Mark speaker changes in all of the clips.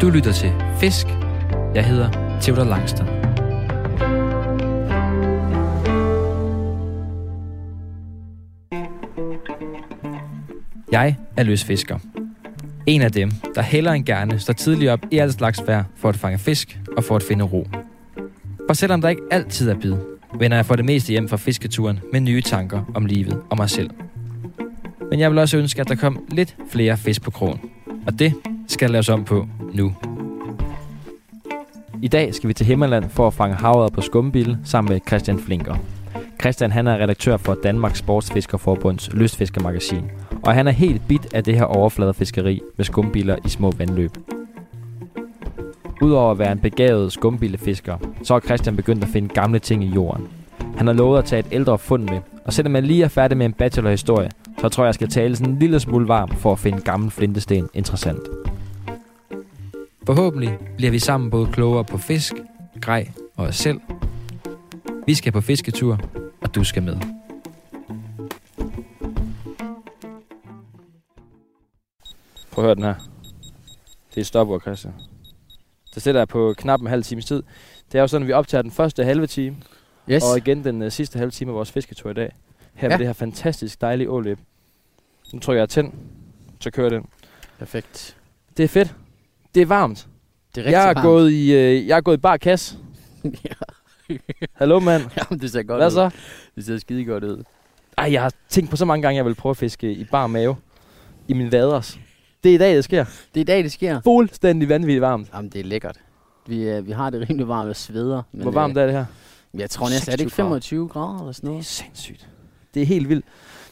Speaker 1: Du lytter til Fisk. Jeg hedder Theodor Langstad. Jeg er løsfisker. En af dem, der hellere end gerne står tidligt op i alt slags vejr for at fange fisk og for at finde ro. For selvom der ikke altid er bid, vender jeg for det meste hjem fra fisketuren med nye tanker om livet og mig selv. Men jeg vil også ønske, at der kom lidt flere fisk på krogen. Og det skal der laves om på nu.
Speaker 2: I dag skal vi til Himmerland for at fange havet på skumbille sammen med Christian Flinker. Christian han er redaktør for Danmarks Sportsfiskerforbunds lystfiskermagasin, og han er helt bit af det her overfladefiskeri med skumbiler i små vandløb. Udover at være en begavet skumbillefisker, så er Christian begyndt at finde gamle ting i jorden. Han har lovet at tage et ældre fund med, og selvom jeg lige er færdig med en bachelorhistorie, så tror jeg, jeg skal tale sådan en lille smule varm for at finde gammel flintesten interessant.
Speaker 1: Forhåbentlig bliver vi sammen både klogere på fisk, grej og os selv. Vi skal på fisketur, og du skal med.
Speaker 2: Prøv at høre den her. Det er et stopord, Christian. Det sætter jeg på knap en halv times tid. Det er jo sådan, at vi optager den første halve time,
Speaker 3: Yes.
Speaker 2: og igen den øh, sidste halve time af vores fisketur i dag. Her ja.
Speaker 3: Ja.
Speaker 2: med det her fantastisk dejlige åløb. Nu trykker jeg tænd, så kører den.
Speaker 3: Perfekt.
Speaker 2: Det er fedt. Det er varmt.
Speaker 3: Det er rigtig
Speaker 2: Jeg er,
Speaker 3: varmt.
Speaker 2: gået i, øh, jeg er gået i bar kasse.
Speaker 3: ja,
Speaker 2: Hallo mand.
Speaker 3: jamen, det ser godt
Speaker 2: Hvad
Speaker 3: ud.
Speaker 2: så?
Speaker 3: Det ser skide godt ud.
Speaker 2: Ej, jeg har tænkt på så mange gange, jeg vil prøve at fiske i bar mave. I min vaders. Det er i dag, det sker.
Speaker 3: Det er i dag, det sker.
Speaker 2: Fuldstændig vanvittigt varmt.
Speaker 3: Jamen, det er lækkert. Vi, øh, vi har det rimelig varmt og sveder. Men,
Speaker 2: Hvor varmt
Speaker 3: øh,
Speaker 2: er det her?
Speaker 3: Jeg tror næsten, er det ikke
Speaker 2: 26 grader?
Speaker 3: 25 grader eller sådan
Speaker 2: Det er
Speaker 3: noget?
Speaker 2: sindssygt. Det er helt vildt.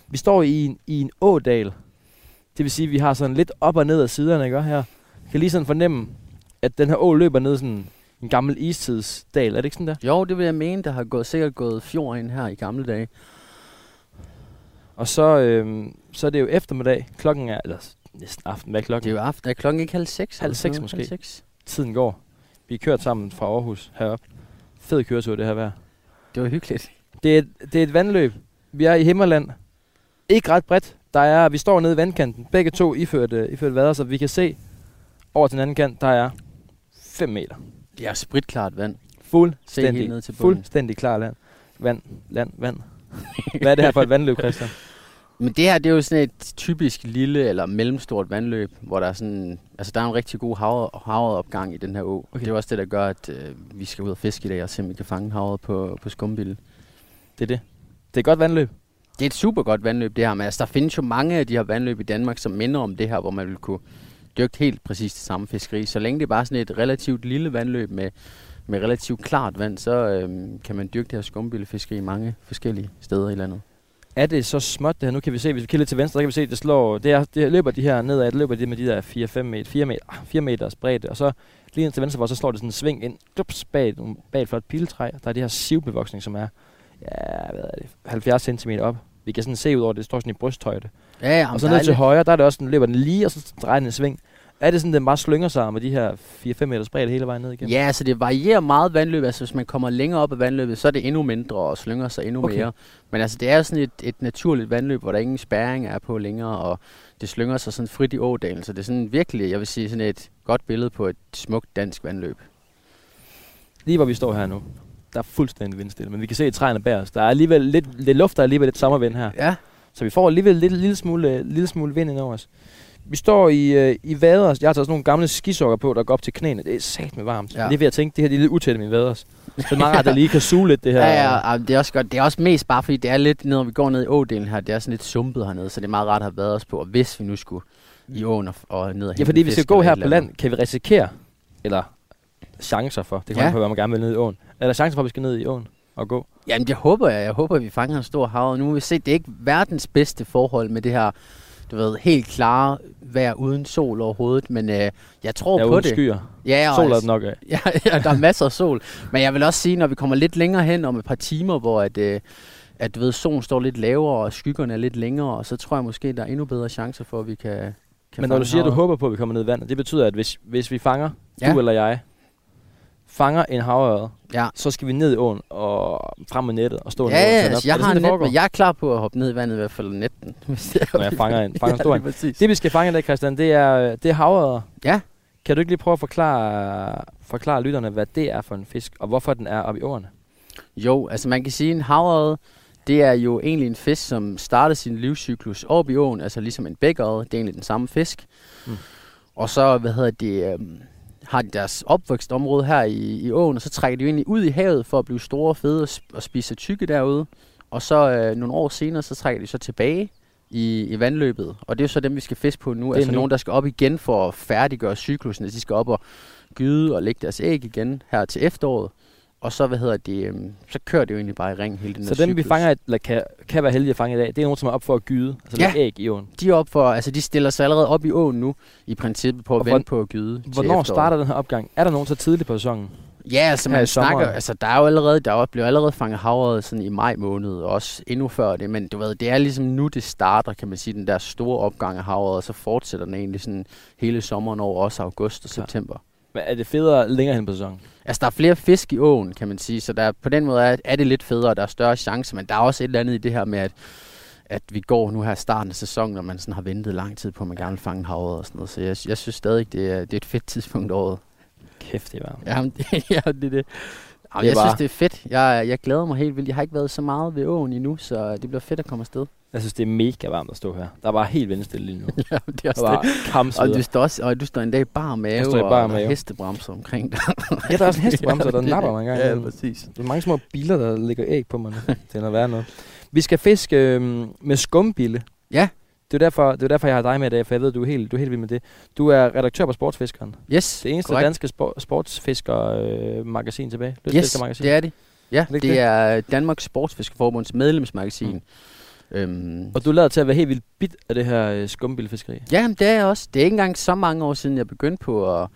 Speaker 2: Vi står i en, i en ådal. Det vil sige, at vi har sådan lidt op og ned af siderne, ikke også, her? Jeg kan lige sådan fornemme, at den her å løber ned sådan en gammel istidsdal. Er det ikke sådan der?
Speaker 3: Jo, det vil jeg mene, der har gået, sikkert gået fjord ind her i gamle dage.
Speaker 2: Og så, øhm, så er det jo eftermiddag. Klokken er, eller s- næsten aften, hvad er
Speaker 3: Det er
Speaker 2: klokken?
Speaker 3: jo aften. Er klokken ikke halv seks?
Speaker 2: Halv
Speaker 3: eller
Speaker 2: seks
Speaker 3: sådan noget?
Speaker 2: måske.
Speaker 3: Halv seks.
Speaker 2: Tiden går. Vi er kørt sammen fra Aarhus herop. Fed køretur, det her vejr.
Speaker 3: Det var hyggeligt.
Speaker 2: Det er, et, det er et vandløb. Vi er i Himmerland. Ikke ret bredt. Der er, vi står nede i vandkanten. Begge to iført, øh, iført vader, så vi kan se over til den anden kant, der er 5 meter.
Speaker 3: Det er spritklart vand. Se helt
Speaker 2: Fuldstændig,
Speaker 3: ned til bunden.
Speaker 2: fuldstændig klar land. Vand, land, vand. Hvad er det her for et vandløb, Christian?
Speaker 3: Men det her, det er jo sådan et typisk lille eller mellemstort vandløb, hvor der er sådan, altså der er en rigtig god hav- havredopgang i den her å.
Speaker 2: Okay.
Speaker 3: Okay. Det er jo også det, der gør, at øh, vi skal ud og fiske i dag og se, om vi kan fange havet på, på skumbille.
Speaker 2: Det er det. Det er et godt vandløb.
Speaker 3: Det er et super godt vandløb, det her, men altså, der findes jo mange af de her vandløb i Danmark, som minder om det her, hvor man vil kunne dyrke helt præcis det samme fiskeri. Så længe det er bare sådan et relativt lille vandløb med, med relativt klart vand, så øhm, kan man dyrke det her skumbillefiskeri mange forskellige steder i landet.
Speaker 2: Er det så småt det her? Nu kan vi se, hvis vi kigger lidt til venstre, så kan vi se, at det slår, det, er, det løber de her nedad, det løber de med de der 4-5 meter, 4 meter, ah, 4 meters bredde, og så lige ind til venstre for os, så slår det sådan en sving ind, dups, bag, et- bag et flot piletræ, der er det her sivbevoksning, som er, ja, hvad er det, 70 cm op. Vi kan sådan se ud over det, det står sådan i brysthøjde.
Speaker 3: Ja, ja,
Speaker 2: og så ned til højre, der er det også sådan, løber den lige, og så drejer den en sving. Er det sådan, den bare slynger sig med de her 4-5 meters bredde hele vejen ned igen?
Speaker 3: Ja, altså det varierer meget vandløb. Altså hvis man kommer længere op ad vandløbet, så er det endnu mindre og slynger sig endnu
Speaker 2: Okay.
Speaker 3: okay. mere. Men altså det er jo sådan et, et naturligt vandløb, hvor der ingen spærring er på længere, og det slynger sig sådan frit i ådalen. Så det er sådan virkelig, jeg vil sige, sådan et godt billede på et smukt dansk vandløb.
Speaker 2: Lige hvor vi står her nu, der er fuldstændig vindstille, men vi kan se at træerne bag os. Der er alligevel lidt, lidt luft, der er alligevel lidt sommervind her.
Speaker 3: Ja.
Speaker 2: Så vi får alligevel lidt lille smule, øh, lille smule vind ind over os. Vi står i, øh, i vaders. Jeg har taget sådan nogle gamle skisokker på, der går op til knæene. Det er sat med varmt. Ja.
Speaker 3: Ja.
Speaker 2: Det er ved at tænke, det her det er lidt utæt i mine vaders. Så det er meget rart, at jeg lige kan suge lidt det her.
Speaker 3: Ja, ja, ja, det er også godt. Det er også mest bare, fordi det er lidt, når vi går ned i ådalen her, det er sådan lidt sumpet hernede, så det er meget rart at have været os på, og hvis vi nu skulle i åen og, og ned og
Speaker 2: Mm. ja
Speaker 3: hente
Speaker 2: fordi
Speaker 3: en
Speaker 2: hvis vi
Speaker 3: fisk
Speaker 2: skal gå
Speaker 3: eller
Speaker 2: her
Speaker 3: et
Speaker 2: på
Speaker 3: eller andet.
Speaker 2: land, kan vi risikere, eller chancer for, det kan ja.
Speaker 3: Ja.
Speaker 2: på, hvad man gerne vil ned i åen. Er der chancer for, at vi skal ned i åen og gå?
Speaker 3: Jamen, det håber jeg. Jeg håber, at vi fanger en stor hav. Nu må vi se, det er ikke verdens bedste forhold med det her, du ved, helt klare vejr uden sol overhovedet, men øh, jeg tror
Speaker 2: ja,
Speaker 3: på
Speaker 2: uden
Speaker 3: det.
Speaker 2: skyer.
Speaker 3: Ja, og
Speaker 2: Sol er
Speaker 3: altså-
Speaker 2: det nok af.
Speaker 3: Ja, ja, der er masser af sol. Men jeg vil også sige, når vi kommer lidt længere hen om et par timer, hvor at, øh, at du ved, solen står lidt lavere, og skyggerne er lidt længere, og så tror jeg måske, der er endnu bedre chancer for, at vi kan, kan
Speaker 2: Men når
Speaker 3: fange
Speaker 2: du siger, at du
Speaker 3: havet.
Speaker 2: håber på, at vi kommer ned i vandet, det betyder, at hvis, hvis vi fanger, ja.
Speaker 3: Ja.
Speaker 2: du eller jeg, fanger en havørred,
Speaker 3: Ja.
Speaker 2: så skal vi ned i åen og frem med nettet og stå nede
Speaker 3: Ja,
Speaker 2: og tage
Speaker 3: ja,
Speaker 2: den op.
Speaker 3: altså,
Speaker 2: Er
Speaker 3: jeg
Speaker 2: det
Speaker 3: har
Speaker 2: sådan,
Speaker 3: en
Speaker 2: det
Speaker 3: net,
Speaker 2: foregår?
Speaker 3: men jeg er klar på at hoppe ned i vandet, i hvert fald netten.
Speaker 2: Når jeg fanger en, fanger en stor
Speaker 3: ja,
Speaker 2: en.
Speaker 3: lige præcis.
Speaker 2: Det vi skal fange i dag, Christian, det er, øh, det er havørder.
Speaker 3: Ja.
Speaker 2: Kan du ikke lige prøve at forklare, forklare lytterne, hvad det er for en fisk, og hvorfor den er oppe i årene?
Speaker 3: Jo, altså man kan sige, at en havørred, det er jo egentlig en fisk, som starter sin livscyklus op i åen, altså ligesom en bækørred, det er egentlig den samme fisk.
Speaker 2: Mm.
Speaker 3: Mm. Og så, hvad hedder det, øhm, har de deres opvækstområde her i, i åen, og så trækker de jo egentlig ud i havet for at blive store og fede og, sp- og spise sig tykke derude. Og så øh, nogle år senere, så trækker de så tilbage i, i vandløbet. Og det er jo så dem, vi skal fiske på nu.
Speaker 2: er
Speaker 3: Altså
Speaker 2: nu.
Speaker 3: nogen, der skal op igen for at færdiggøre cyklusen. De skal op og gyde og lægge deres æg igen her til efteråret. Og så, hvad hedder det, øhm, så kører det jo egentlig bare i ring hele den
Speaker 2: Så
Speaker 3: her
Speaker 2: dem, vi
Speaker 3: cyklus.
Speaker 2: fanger, i- eller kan, kan være heldige at fange i dag, det er nogen, som er op for at gyde, altså
Speaker 3: Ja.
Speaker 2: ja. æg i åen.
Speaker 3: De, er op for, altså, de stiller sig allerede op i åen nu, i princippet på at
Speaker 2: Og
Speaker 3: vente på at gyde til
Speaker 2: Hvornår
Speaker 3: efteråret.
Speaker 2: starter den her opgang? Er der nogen så tidligt på sæsonen?
Speaker 3: Ja, altså
Speaker 2: her i
Speaker 3: man snakker,
Speaker 2: sommeren?
Speaker 3: altså der er jo allerede, der er jo- bliver allerede fanget havret sådan i maj måned, og også endnu før det, men du ved, det er ligesom nu det starter, kan man sige, den der store opgang af havret, og så fortsætter den egentlig sådan hele sommeren over, også august og
Speaker 2: Klart.
Speaker 3: september.
Speaker 2: Men er det federe længere hen på sæsonen?
Speaker 3: Altså, der er flere fisk i åen, kan man sige, så der, på den måde er, er det lidt federe, og der er større chancer, men der er også et eller andet i det her med, at, at vi går nu her i starten af sæsonen, når man sådan har ventet lang tid på, at man gerne vil fange havret og sådan noget, så jeg, jeg synes stadig, det er, det er et fedt tidspunkt i året.
Speaker 2: Kæft, det er varmt.
Speaker 3: Jamen, det, ja, det er det. Jamen,
Speaker 2: Det er
Speaker 3: jeg
Speaker 2: bare-
Speaker 3: synes, det er fedt. Jeg, jeg glæder mig helt vildt. Jeg har ikke været så meget ved åen endnu, så det bliver fedt at komme afsted.
Speaker 2: Jeg synes, det er mega varmt at stå her. Der er bare helt vindstille lige nu. Der
Speaker 3: Ja, det er
Speaker 2: er bare
Speaker 3: Og du,
Speaker 2: kampsveder.
Speaker 3: står også, og du står endda i bar mave,
Speaker 2: Jeg står i
Speaker 3: og
Speaker 2: bar
Speaker 3: der er
Speaker 2: mave.
Speaker 3: hestebremser omkring dig.
Speaker 2: Ja, der er også en hestebamse, der
Speaker 3: det-
Speaker 2: napper mig en gang.
Speaker 3: Ja,
Speaker 2: imellem.
Speaker 3: præcis.
Speaker 2: Der er mange små biler, der lægger æg på mig nu. Det er noget værre noget. Vi skal fiske øhm, med skumbille.
Speaker 3: Ja.
Speaker 2: Det er, jo derfor, det er jo derfor, jeg har dig med i dag, for jeg ved, du er helt, du er helt vild med det. Du er redaktør på Sportsfiskeren.
Speaker 3: Yes,
Speaker 2: Det eneste
Speaker 3: korrekt.
Speaker 2: Correct. danske spor- sportsfisker-magasin tilbage.
Speaker 3: Yes,
Speaker 2: Lystfiskermagasin.
Speaker 3: det er det. Ja,
Speaker 2: det
Speaker 3: det,
Speaker 2: ikke
Speaker 3: det
Speaker 2: det?
Speaker 3: er øh, Danmarks Sportsfiskerforbunds medlemsmagasin. Mm. Øhm,
Speaker 2: Og du lader til at være helt vildt bit af det her øh, skumbillefiskeri.
Speaker 3: ja, men det er jeg også. Det er ikke engang så mange år siden, jeg begyndte på at,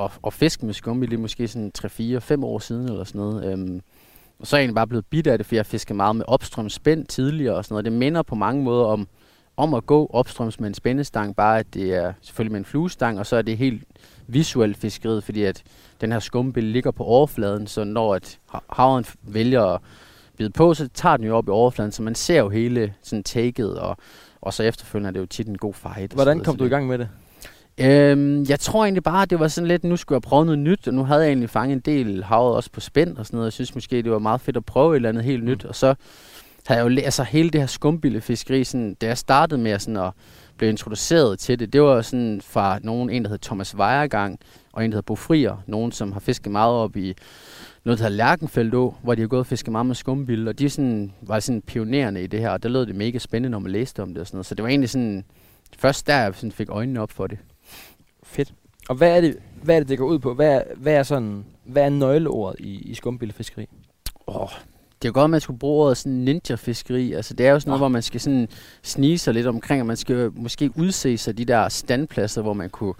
Speaker 3: at, at fiske med skumbi. Det er måske sådan 3-4-5 år siden eller sådan noget. Øhm, og så er jeg egentlig bare blevet bidt af det, for jeg fisker meget med opstrømsspænd tidligere og sådan noget. Det minder på mange måder om, om at gå opstrøms med en spændestang, bare at det er selvfølgelig med en fluestang, og så er det helt visuelt fiskeriet, fordi at den her skumbille ligger på overfladen, så når at ha- havren f- vælger at bide på, så tager den jo op i overfladen, så man ser jo hele sådan taket, og, og så efterfølgende er det jo tit en god fight. og
Speaker 2: Hvordan
Speaker 3: sådan
Speaker 2: kom du i
Speaker 3: noget, så
Speaker 2: gang med det?
Speaker 3: det- Øhm, jeg tror egentlig bare, at det var sådan lidt, nu skulle jeg prøve noget nyt, og nu havde jeg egentlig fanget en del havet også på spænd og sådan noget. Jeg synes måske, det var meget fedt at prøve et eller andet helt nyt, og så havde jeg jo læ- altså hele det her skumbillefiskeri, sådan, da jeg startede med at sådan at blive introduceret til det, det var sådan fra nogen, en der hed Thomas Vejergang, og en der hed Bo Frier, nogen som har fisket meget op i noget, der hedder Lærkenfeldt Å, hvor de har gået og fisket meget med skumbille, og de sådan, var sådan pionerende i det her, og der lød det mega spændende, når man læste om det og sådan noget. Så det var egentlig sådan, først der jeg sådan fik øjnene op for det.
Speaker 2: Fedt. Og hvad er det, hvad er det, det går ud på? Hvad er, hvad er, sådan, hvad er nøgleordet i, i skumbillefiskeri?
Speaker 3: Oh, det er godt, at man skulle bruge ordet sådan ninja-fiskeri. Altså, det er jo sådan noget,
Speaker 2: Nå.
Speaker 3: hvor man skal sådan snige sig lidt omkring, og man skal jo måske udse sig de der standpladser, hvor man kunne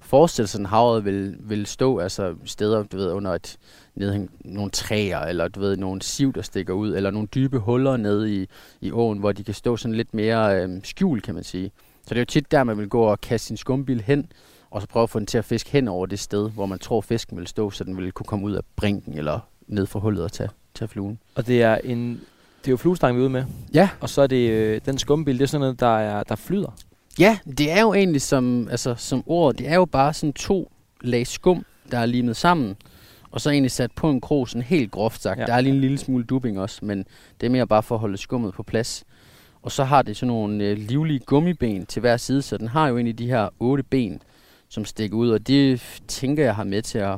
Speaker 3: forestille sig, at havet vil, vil stå, altså steder, du ved, under et, nede, nogle træer, eller du ved, nogle siv, der stikker ud, eller nogle dybe huller nede i, i åen, hvor de kan stå sådan lidt mere øhm, skjult, kan man sige. Så det er jo tit der, man vil gå og kaste sin skumbil hen, og så prøve at få den til at fiske hen over det sted, hvor man tror, fisken vil stå, så den vil kunne komme ud af brinken, eller ned fra hullet og tage, tage fluen.
Speaker 2: Og det er en det er jo fluestang, vi er ude med.
Speaker 3: Ja.
Speaker 2: Og så er det øh, den skumbil, det er sådan noget, der, er, der flyder.
Speaker 3: Ja, det er jo egentlig som, altså, som ord, det er jo bare sådan to lag skum, der er limet sammen, og så egentlig sat på en krog, sådan helt groft sagt.
Speaker 2: Ja.
Speaker 3: Ja. Der er lige en lille smule dubbing også, men det er mere bare for at holde skummet på plads. Og så har det sådan nogle øh, livlige gummiben til hver side, så den har jo egentlig de her otte ben, som stikker ud, og det f- tænker jeg har med til at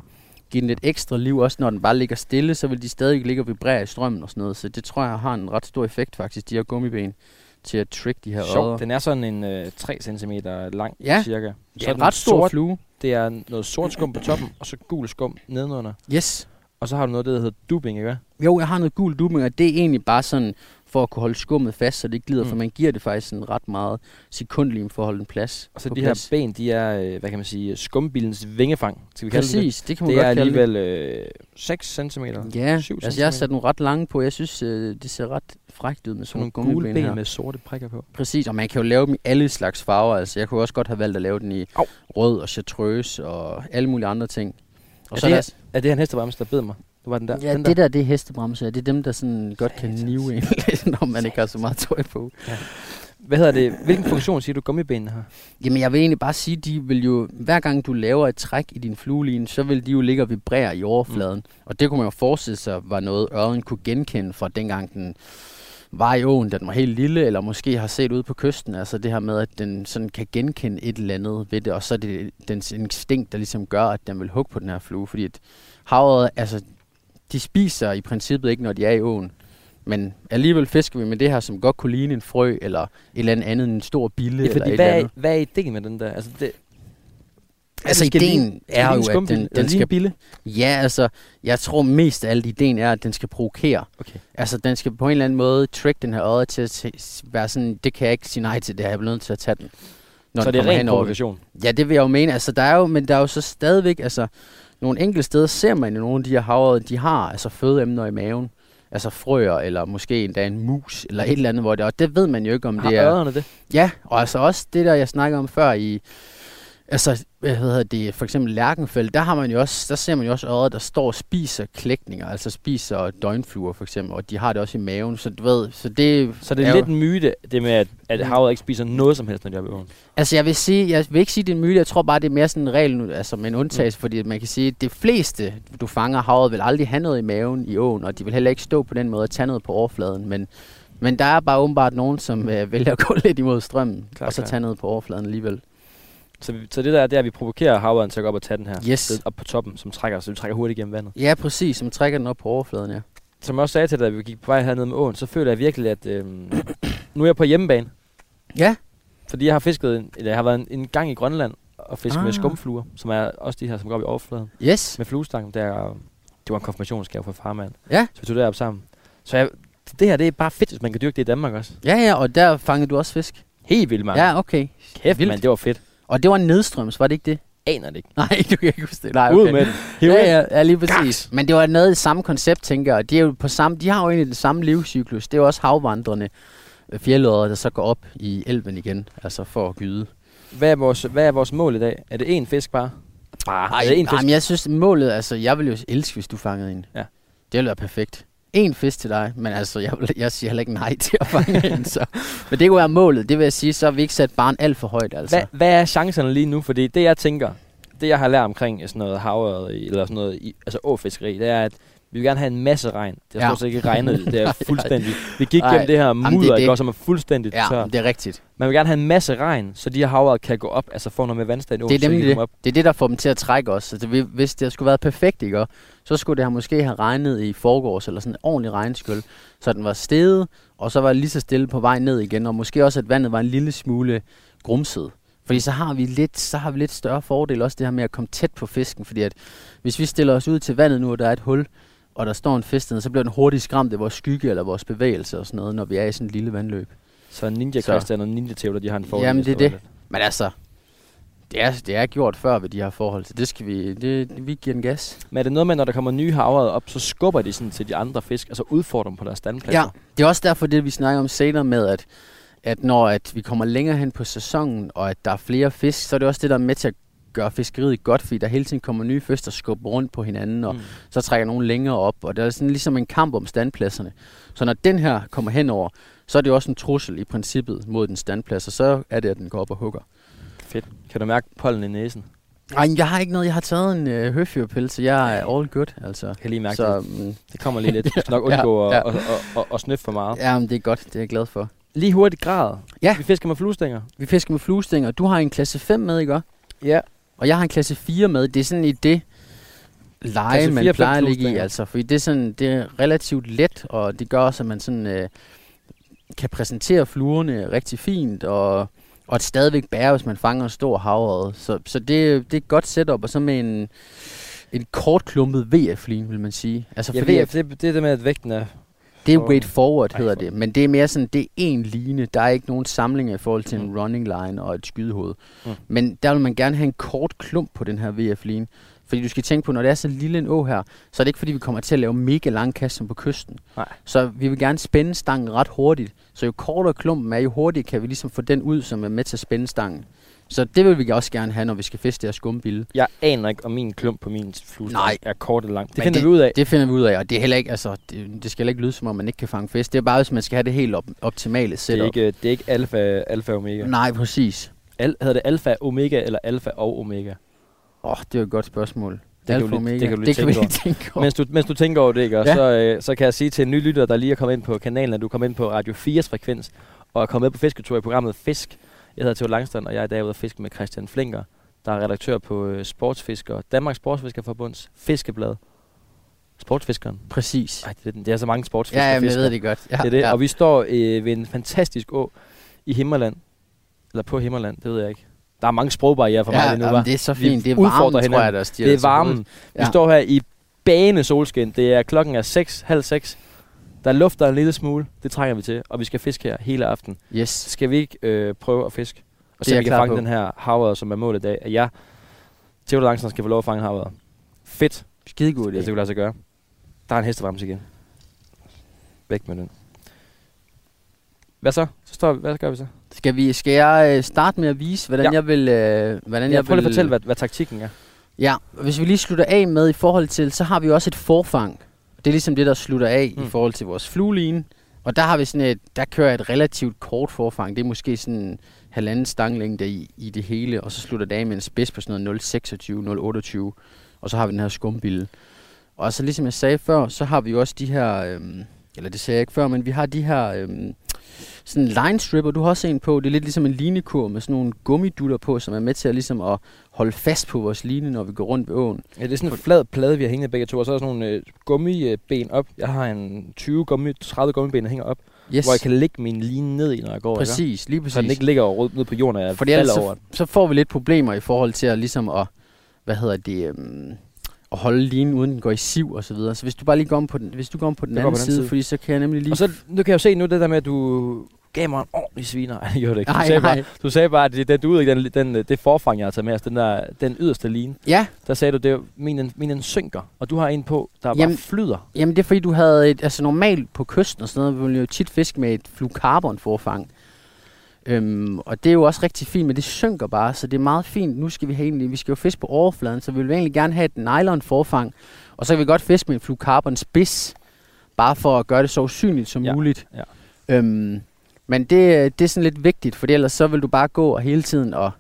Speaker 3: give den lidt ekstra liv, også når den bare ligger stille, så vil de stadig ligge og vibrere i strømmen og sådan noget, så det tror jeg har en ret stor effekt faktisk, de her gummiben, til at trick de her odder.
Speaker 2: Sjovt. Den er sådan en øh, 3 cm lang,
Speaker 3: Ja.
Speaker 2: cirka.
Speaker 3: Det
Speaker 2: Så
Speaker 3: er
Speaker 2: den
Speaker 3: en ret stor
Speaker 2: sort,
Speaker 3: flue.
Speaker 2: Det er noget sort skum på toppen, og så gul skum nedenunder.
Speaker 3: Yes.
Speaker 2: Og så har du noget, af det, der hedder dubbing, ikke hvad?
Speaker 3: Jo, jeg har noget gul dubbing, og det er egentlig bare sådan for at kunne holde skummet fast, så det ikke glider,
Speaker 2: Mm.
Speaker 3: mm. for man giver det faktisk sådan ret meget sekundlim for at holde den plads.
Speaker 2: Og så
Speaker 3: på
Speaker 2: de
Speaker 3: plads.
Speaker 2: her ben, de er, øh, hvad kan man sige, skumbilens vingefang, skal vi kalde det.
Speaker 3: Præcis, det kan man
Speaker 2: Det er
Speaker 3: godt kalde det.
Speaker 2: alligevel øh, 6 cm. syv
Speaker 3: Ja, altså jeg har
Speaker 2: centimeter.
Speaker 3: sat nogle ret lange på. Jeg synes, øh, det ser ret frækt ud med
Speaker 2: Sådan
Speaker 3: sådan
Speaker 2: nogle
Speaker 3: nogle
Speaker 2: gule
Speaker 3: gummiben
Speaker 2: ben
Speaker 3: her.
Speaker 2: med sorte prikker på.
Speaker 3: Præcis, og man kan jo lave dem i alle slags farver. Altså jeg kunne også godt have valgt at lave den i
Speaker 2: Au.
Speaker 3: rød og chartreuse og alle mulige andre ting.
Speaker 2: Ja,
Speaker 3: Og så
Speaker 2: det
Speaker 3: er
Speaker 2: er
Speaker 3: der,
Speaker 2: Er det her en hestebremse, der bed mig? Det var den der.
Speaker 3: ja,
Speaker 2: den
Speaker 3: det der, det er hestebremser. Det er dem, der sådan godt kan
Speaker 2: Satans.
Speaker 3: nive en lidt, når man ikke har så meget tøj på.
Speaker 2: Hvad hedder det? Hvilken funktion siger du gummibenene har?
Speaker 3: Jamen, jeg vil egentlig bare sige, de vil jo, hver gang du laver et træk i din flueline, så vil de jo ligge og vibrere i overfladen. Mm. Og det kunne man jo forestille sig var noget, ørnen kunne genkende fra dengang den var i åen, da den var helt lille, eller måske har set ud på kysten. Altså det her med, at den sådan kan genkende et eller andet ved det, og så er det dens instinkt, der ligesom gør, at den vil hugge på den her flue. Fordi at havet, altså, de spiser i princippet ikke, når de er i åen. Men alligevel fisker vi med det her, som godt kunne ligne en frø, eller et eller andet andet, en stor bille,
Speaker 2: Ja,
Speaker 3: eller et
Speaker 2: fordi
Speaker 3: eller
Speaker 2: hvad,
Speaker 3: andet.
Speaker 2: er, hvad er ideen med den der? Altså, det,
Speaker 3: Altså
Speaker 2: skal
Speaker 3: ideen
Speaker 2: er
Speaker 3: er jo, at den, den skal...
Speaker 2: bille.
Speaker 3: Ja, altså, jeg tror mest af alt ideen er, at den skal provokere.
Speaker 2: Okay.
Speaker 3: Altså, den skal på en eller anden måde trick den her øje til at se- være sådan, det kan jeg ikke sige nej til, det her, jeg bliver nødt til at tage den. Når
Speaker 2: så
Speaker 3: den
Speaker 2: det er
Speaker 3: kommer
Speaker 2: ren
Speaker 3: hen over det.
Speaker 2: provokation.
Speaker 3: Ja, det vil jeg jo mene. Altså, der er jo, men der er jo så stadigvæk, altså, nogle enkelte steder ser man jo nogle af de her havre, de har altså fødeemner i maven. Altså frøer, eller måske endda en mus, eller et eller andet, hvor det er. Og det ved man jo ikke, om
Speaker 2: Har
Speaker 3: det er...
Speaker 2: ørerne det?
Speaker 3: Ja, og altså også det der, jeg snakkede om før i... Altså, hvad hedder det, for eksempel Lærkenfeld, der, har man jo også, der ser man jo også øjet, der står og spiser klækninger, altså spiser døgnfluer for eksempel, og de har det også i maven, så du ved, så det...
Speaker 2: Så det er
Speaker 3: jo-
Speaker 2: lidt en myte, det med, at,
Speaker 3: Mm.
Speaker 2: at havet ikke spiser noget som helst, når de er oppe i åen.
Speaker 3: Altså, jeg vil, sige, jeg vil ikke sige, det er en myte. Jeg tror bare, det er mere sådan en regel, nu, altså med en
Speaker 2: Mm.
Speaker 3: undtagelse, fordi man kan sige, at det fleste, du fanger havet, vil aldrig have noget i maven i åen, og de vil heller ikke stå på den måde og tage noget på overfladen. Men, men der er bare åbenbart nogen, som øh, vælger at gå lidt imod strømmen,
Speaker 2: Mm. Klar,
Speaker 3: og så
Speaker 2: klar.
Speaker 3: tage noget på overfladen alligevel.
Speaker 2: Så, vi- så det der, det er, at vi provokerer havørnen til at gå op og tage den her.
Speaker 3: Yes.
Speaker 2: Det er op på toppen, som trækker, så vi trækker hurtigt igennem vandet.
Speaker 3: Ja, præcis, som trækker den op på overfladen, ja.
Speaker 2: Som jeg også sagde til dig, da vi gik på vej hernede med åen, så føler jeg virkelig, at øhm, nu er jeg på hjemmebane.
Speaker 3: Ja.
Speaker 2: Fordi jeg har fisket, en- eller jeg har været en, en gang i Grønland og fisket ah. med
Speaker 3: Ah.
Speaker 2: skumfluer, som er også de her, som går op i overfladen.
Speaker 3: Yes.
Speaker 2: Med fluestangen, der, øhm, det var en konfirmationsgave fra farmand.
Speaker 3: Ja.
Speaker 2: Så vi tog derop sammen. Så jeg, det her, det er bare fedt, hvis man kan dyrke det i Danmark også.
Speaker 3: Ja, ja, og der fangede du også fisk.
Speaker 2: Helt vildt, mand.
Speaker 3: Ja, okay.
Speaker 2: Kæft,
Speaker 3: vildt.
Speaker 2: mand, det var fedt.
Speaker 3: Og det var nedstrøms, var det ikke det?
Speaker 2: Aner det ikke.
Speaker 3: Nej, du kan ikke huske det. Nej,
Speaker 2: Ud med den. Hiv ind.
Speaker 3: Ja, ja, ja, lige præcis. Men det var noget i det samme koncept, tænker jeg. og De, er jo på samme, de har jo egentlig den samme livscyklus. Det er jo også havvandrende øh, fjeldødder, der så går op i elven igen, altså for at gyde.
Speaker 2: Hvad er, vores, hvad er vores mål i dag? Er det én fisk bare? Bare. er det én fisk?
Speaker 3: jamen, jeg synes, målet, altså, jeg ville jo elske, hvis du fangede en.
Speaker 2: Ja.
Speaker 3: Det ville være perfekt. En fisk til dig, men altså, jeg, vil- jeg siger heller ikke nej til at fange en, så. Men det kunne være målet, det vil jeg sige, så har vi ikke sat barn alt for højt, altså.
Speaker 2: Hvad, hvad er chancerne lige nu? Fordi det, jeg tænker, det jeg har lært omkring sådan noget havørred, eller sådan noget, i- altså åfiskeri, det er, at vi vil gerne have en masse regn. Det har
Speaker 3: Ja.
Speaker 2: stort set ikke regnet. Det er
Speaker 3: Nej,
Speaker 2: fuldstændig. Vi gik
Speaker 3: Ej.
Speaker 2: gennem det her
Speaker 3: det er
Speaker 2: mudder, det
Speaker 3: det.
Speaker 2: går, som er fuldstændig ja.
Speaker 3: Ja,
Speaker 2: tør.
Speaker 3: men det er rigtigt.
Speaker 2: Man vil gerne have en masse regn, så de her havørred kan gå op, altså få noget med vandstand i åen,
Speaker 3: Det er
Speaker 2: så de
Speaker 3: nemlig
Speaker 2: kan komme op.
Speaker 3: Det er det, der får dem til at trække os. Så det, vil- hvis det skulle være perfekt, ikke? Og så skulle det have måske have regnet i forgårs, eller sådan en ordentlig regnskyld, så den var steget, og så var det lige så stille på vej ned igen, og måske også, at vandet var en lille smule grumset. Fordi så har, vi lidt, så har vi lidt større fordel også det her med at komme tæt på fisken, fordi at hvis vi stiller os ud til vandet nu, og der er et hul, og der står en fisk dernede, så bliver den hurtigt skræmt af vores skygge eller vores bevægelse og sådan noget, når vi er i sådan et lille vandløb.
Speaker 2: Så Ninja
Speaker 3: Så.
Speaker 2: Christian og Ninja Tævler, de har en fordel.
Speaker 3: Jamen,
Speaker 2: hvis
Speaker 3: det er
Speaker 2: var
Speaker 3: det. Men altså, det er, det er gjort før ved de her forhold, så det skal vi, det, vi giver den gas.
Speaker 2: Men er det noget med, når der kommer nye havørred op, så skubber de sådan til de andre fisk, altså udfordrer dem på deres standpladser?
Speaker 3: Ja, det er også derfor det, vi snakker om senere med, at, at når at vi kommer længere hen på sæsonen, og at der er flere fisk, så er det også det, der er med til at gøre fiskeriet godt, fordi der hele tiden kommer nye fisk, der skubber rundt på hinanden, og
Speaker 2: Mm.
Speaker 3: mm. så trækker nogen længere op, og det er sådan ligesom en kamp om standpladserne. Så når den her kommer henover, så er det jo også en trussel i princippet mod den standplads, og så er det, at den går op og hugger.
Speaker 2: Fedt. Kan du mærke pollen i næsen?
Speaker 3: Ej, jeg har ikke noget. Jeg har taget en øh, høfyrpølse. Jeg er all good, altså.
Speaker 2: Jeg kan lige mærke det.
Speaker 3: Så mm,
Speaker 2: Det kommer lige lidt. Du skal nok undgå ja,
Speaker 3: Ja, ja.
Speaker 2: ja. At, at, at, at, at snøffe for meget.
Speaker 3: ja, men det er godt. Det er jeg glad for.
Speaker 2: Lige hurtigt grad.
Speaker 3: Ja.
Speaker 2: Vi fisker med fluestænger.
Speaker 3: Vi fisker med fluestænger. Du har en klasse 5 med, ikke også?
Speaker 2: Ja.
Speaker 3: Og jeg har en klasse 4 med. Det er sådan i det leje,
Speaker 2: Klasse
Speaker 3: man
Speaker 2: 4, fem
Speaker 3: plejer at ligge i,
Speaker 2: fluestænger.
Speaker 3: altså. Fordi det er, sådan, det er relativt let, og det gør også, at man sådan, øh, kan præsentere fluerne rigtig fint, og, og stadigvæk bære, hvis man fanger en stor havred. Så, så det, det er et godt setup, og så med en, en kortklumpet VF-lin, vil man sige. Altså,
Speaker 2: Jeg
Speaker 3: fordi
Speaker 2: ved,
Speaker 3: at-
Speaker 2: at det, det er det med, at vægten er...
Speaker 3: Det er
Speaker 2: For-
Speaker 3: weight forward,
Speaker 2: Ej,
Speaker 3: hedder
Speaker 2: for-
Speaker 3: det. Men det er mere sådan, det er en line. Der er ikke nogen samlinger i forhold til en running line og et skydehoved.
Speaker 2: Mm.
Speaker 3: Men der vil man gerne have en kort klump på den her VF-line. Fordi du skal tænke på, når det er så lille en å her, så er det ikke fordi, vi kommer til at lave mega lang kast som på kysten.
Speaker 2: Nej.
Speaker 3: Så vi vil gerne spænde stangen ret hurtigt. Så jo kortere klumpen er, jo hurtigere kan vi ligesom få den ud, som er med til at spænde stangen. Så det vil vi også gerne have, når vi skal fiske det her skumbille.
Speaker 2: Jeg aner ikke, om min klump på min flus
Speaker 3: Nej.
Speaker 2: er kort eller lang. Det
Speaker 3: Men
Speaker 2: finder vi ud af.
Speaker 3: Det finder vi ud af, og det, er heller ikke, altså, det, det skal heller ikke lyde, som om man ikke kan fange fisk. Det er bare, hvis man skal have det helt op- optimale
Speaker 2: Det er
Speaker 3: setup.
Speaker 2: ikke, det er ikke alfa, alfa og omega.
Speaker 3: Nej, præcis.
Speaker 2: Al, hedder det alfa omega eller alfa og omega?
Speaker 3: Åh, oh, det er jo et godt spørgsmål.
Speaker 2: kan
Speaker 3: Alfa
Speaker 2: du lige-
Speaker 3: Omega.
Speaker 2: det kan du lige
Speaker 3: det kan vi
Speaker 2: tænke
Speaker 3: lige tænke over.
Speaker 2: Mens du, mens du tænker over det, ikke, og
Speaker 3: Ja.
Speaker 2: så, øh, så kan jeg sige til en ny lytter, der lige er kommet ind på kanalen, at du kom ind på Radio 4's frekvens, og er kommet med på fisketur i programmet Fisk. Jeg hedder Theo Langstrand, og jeg er i dag ude at fiske med Christian Flinker, der er redaktør på øh, Sportsfisker, Danmarks Sportsfiskerforbunds Fiskeblad. Sportsfiskeren.
Speaker 3: Præcis.
Speaker 2: Ej, det, er den- det er så mange sportsfisker.
Speaker 3: Ja, jamen, jeg
Speaker 2: fisker.
Speaker 3: ved det godt. Ja,
Speaker 2: Det er det.
Speaker 3: Ja.
Speaker 2: Og vi står øh, ved en fantastisk å i Himmerland. Eller på Himmerland, det ved jeg ikke. Der er mange sprogbarriere for mig
Speaker 3: ja,
Speaker 2: lige nu,
Speaker 3: jamen,
Speaker 2: hva'?
Speaker 3: det er så
Speaker 2: Vi
Speaker 3: fint. Det er
Speaker 2: udfordrer
Speaker 3: varmen, tror jeg,
Speaker 2: hinanden.
Speaker 3: der stiger
Speaker 2: Det er
Speaker 3: os i
Speaker 2: varmen.
Speaker 3: hovedet.
Speaker 2: Vi står her i bane solskin. Det er klokken er 6, halv 6. Der lufter en lille smule. Det trænger vi til. Og vi skal fiske her hele aften.
Speaker 3: Yes.
Speaker 2: Skal vi ikke øh, prøve at fiske? Og
Speaker 3: Det er
Speaker 2: se, om
Speaker 3: jeg
Speaker 2: vi kan
Speaker 3: klar
Speaker 2: fange
Speaker 3: på.
Speaker 2: den her havre, som er målet i dag. At jeg, Theodor Langsen, skal få lov at fange havre. Fedt,
Speaker 3: Skidegod
Speaker 2: hvis det
Speaker 3: idé.
Speaker 2: kunne lade sig gøre. Der er en hestebremse igen. Væk med den. Hvad så? Så står vi. Hvad gør vi så?
Speaker 3: Skal, vi, skal jeg øh, starte med at vise, hvordan
Speaker 2: Ja.
Speaker 3: ja. jeg vil... Øh, hvordan
Speaker 2: Jeg
Speaker 3: jeg
Speaker 2: prøver
Speaker 3: vil,
Speaker 2: lige at fortælle, hvad, hvad taktikken er.
Speaker 3: Ja, og hvis vi lige slutter af med i forhold til, så har vi jo også et forfang. Det er ligesom det, der slutter af mm.
Speaker 2: Mm.
Speaker 3: i forhold til vores flueline. Og der har vi sådan et, der kører et relativt kort forfang. Det er måske sådan halvanden stanglængde i, i det hele, og så slutter det af med en spids på sådan noget 0,26, 0,28. Og så har vi den her skumbille. Og så ligesom jeg sagde før, så har vi jo også de her, øhm, eller det sagde jeg ikke før, men vi har de her øhm, sådan line stripper, du har også en på. Det er lidt ligesom en linekur med sådan nogle gummidutter på, som er med til at, ligesom at holde fast på vores line, når vi går rundt ved åen.
Speaker 2: Ja, det er sådan en flad plade, vi har hængende begge to, og så er der sådan nogle øh, gummiben op. Jeg har en 20 gummi, 30 gummiben, der hænger op, yes.
Speaker 3: Yes,
Speaker 2: hvor jeg kan lægge min line ned i, når jeg går. ikke?
Speaker 3: præcis, lige
Speaker 2: Så den
Speaker 3: præcis.
Speaker 2: ikke ligger over, ned på jorden, og jeg
Speaker 3: Fordi
Speaker 2: Fordi falder
Speaker 3: ellers
Speaker 2: over
Speaker 3: så,
Speaker 2: den.
Speaker 3: så får vi lidt problemer i forhold til at, ligesom at, hvad hedder det, øhm, at holde linen uden den går i siv og så videre. Så hvis du bare lige går om på den, hvis du går om på den
Speaker 2: Jeg går
Speaker 3: anden
Speaker 2: på den
Speaker 3: side,
Speaker 2: side.
Speaker 3: fordi så kan jeg nemlig lige...
Speaker 2: Og så nu kan jeg jo se nu det der med, at du gav mig en ordentlig sviner. Ej, det gjorde det ikke. Du,
Speaker 3: nej,
Speaker 2: sagde
Speaker 3: nej.
Speaker 2: Bare, du sagde bare, at det, det, du, den, den, øh, det forfang, jeg har taget med, altså den, der, den yderste line,
Speaker 3: Ja,
Speaker 2: der sagde du, det er jo- min, den- min den synker, og du har en på, der bare
Speaker 3: Jamen-
Speaker 2: flyder.
Speaker 3: Jamen det er fordi, du havde et, altså normalt på kysten og sådan noget, ville man jo tit fiske med et flucarbon forfang. Øhm, og det er jo også rigtig fint, men det synker bare, så det er meget fint. Nu skal vi have egentlig, vi skal jo fiske på overfladen, så vi vil egentlig gerne have et nylon forfang. Og så kan vi godt fiske med en flucarbon spids, bare for at gøre det så usynligt som
Speaker 2: Ja,
Speaker 3: muligt.
Speaker 2: ja.
Speaker 3: Øhm, men det, det er sådan lidt vigtigt, for ellers så vil du bare gå og hele tiden og,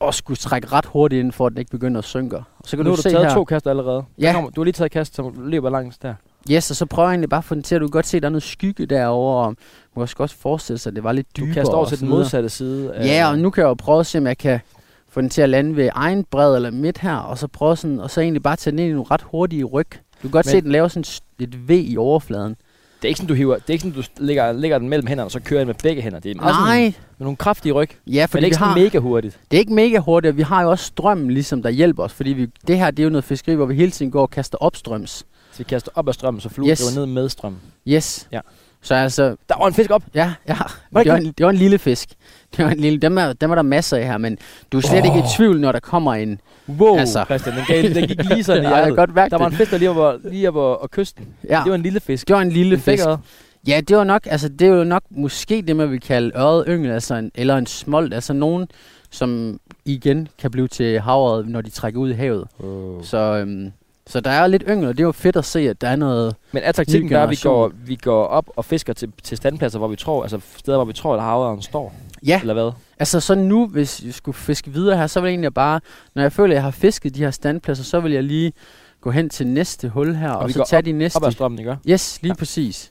Speaker 3: og skulle trække ret hurtigt ind, for at den ikke begynder at synke. Og så kan
Speaker 2: nu
Speaker 3: du,
Speaker 2: har du
Speaker 3: se
Speaker 2: taget
Speaker 3: her,
Speaker 2: to kast allerede. Der
Speaker 3: Ja.
Speaker 2: Kommer, du har lige taget et kast, som løber langs der.
Speaker 3: Yes, og så prøver jeg egentlig bare at få den til, at du kan godt se, at der er noget skygge derovre. og Man kan også godt forestille sig, at det var lidt
Speaker 2: Du
Speaker 3: dybere.
Speaker 2: kaster over
Speaker 3: og
Speaker 2: til
Speaker 3: så
Speaker 2: den
Speaker 3: videre.
Speaker 2: modsatte øh. side. af-
Speaker 3: Ja, og nu kan jeg jo prøve at se, om jeg kan få den til at lande ved egen bred eller midt her, og så prøve sådan, og så egentlig bare tage den ind i nogle ret hurtige ryg. Du kan godt
Speaker 2: Men-
Speaker 3: se, at den laver sådan et st- et V i overfladen.
Speaker 2: Det er ikke sådan, du hiver, det er ikke sådan, du lægger, lægger den mellem hænderne, og så kører den med begge hænder. Det er meget Sådan,
Speaker 3: Nej,
Speaker 2: med nogle kraftige ryg,
Speaker 3: ja,
Speaker 2: for men
Speaker 3: fordi vi
Speaker 2: ikke sådan
Speaker 3: har,
Speaker 2: mega hurtigt.
Speaker 3: det er ikke mega hurtigt, og vi har jo også strømmen, ligesom, der hjælper os, fordi vi, det her det er jo noget fiskeri, hvor vi hele tiden går og kaster opstrøms.
Speaker 2: Så vi kaster op ad strømmen, så fluen yes.
Speaker 3: Yes.
Speaker 2: går ned med strømmen.
Speaker 3: Yes.
Speaker 2: Ja.
Speaker 3: Så altså,
Speaker 2: Der var en fisk op!
Speaker 3: Ja, ja.
Speaker 2: Var det
Speaker 3: Det var,
Speaker 2: ikke-
Speaker 3: en, det var en lille fisk. Det var en lille, dem, er, dem er der masser af her, men du er slet oh. ikke i
Speaker 2: Åh.
Speaker 3: tvivl, når der kommer en.
Speaker 2: Wow, altså.
Speaker 3: Altså.
Speaker 2: Christian, den, gav, den gik lige sådan i
Speaker 3: Ja, jeg kan
Speaker 2: hjertet.
Speaker 3: godt mærke
Speaker 2: Der var en
Speaker 3: det.
Speaker 2: fisk, der lige var, lige var og kysten.
Speaker 3: Ja,
Speaker 2: Det var en lille fisk.
Speaker 3: det var en lille
Speaker 2: Den fik
Speaker 3: fisk.
Speaker 2: ad.
Speaker 3: Ja, det var nok, altså det er jo nok måske det, man vil kalde øret yngel, altså en, eller en smolt, altså nogen, som igen kan blive til havet, når de trækker ud i havet. Så, øhm, så der er lidt yngel, og det er jo fedt at se, at der er noget...
Speaker 2: Men er taktikken
Speaker 3: Ny
Speaker 2: bare, at vi
Speaker 3: generation.
Speaker 2: går, vi går op og fisker til, til standpladser, hvor vi tror, altså steder, hvor vi tror, at havøren står?
Speaker 3: Ja,
Speaker 2: Eller hvad?
Speaker 3: Altså så nu, hvis jeg skulle fiske videre her, så vil jeg egentlig bare, når jeg føler, at jeg har fisket de her standpladser, så vil jeg lige gå hen til næste hul her, og,
Speaker 2: vi
Speaker 3: og
Speaker 2: går
Speaker 3: så tage de næste.
Speaker 2: Op ad strømmen, ikke?
Speaker 3: Yes, lige
Speaker 2: Ja.
Speaker 3: ja. præcis.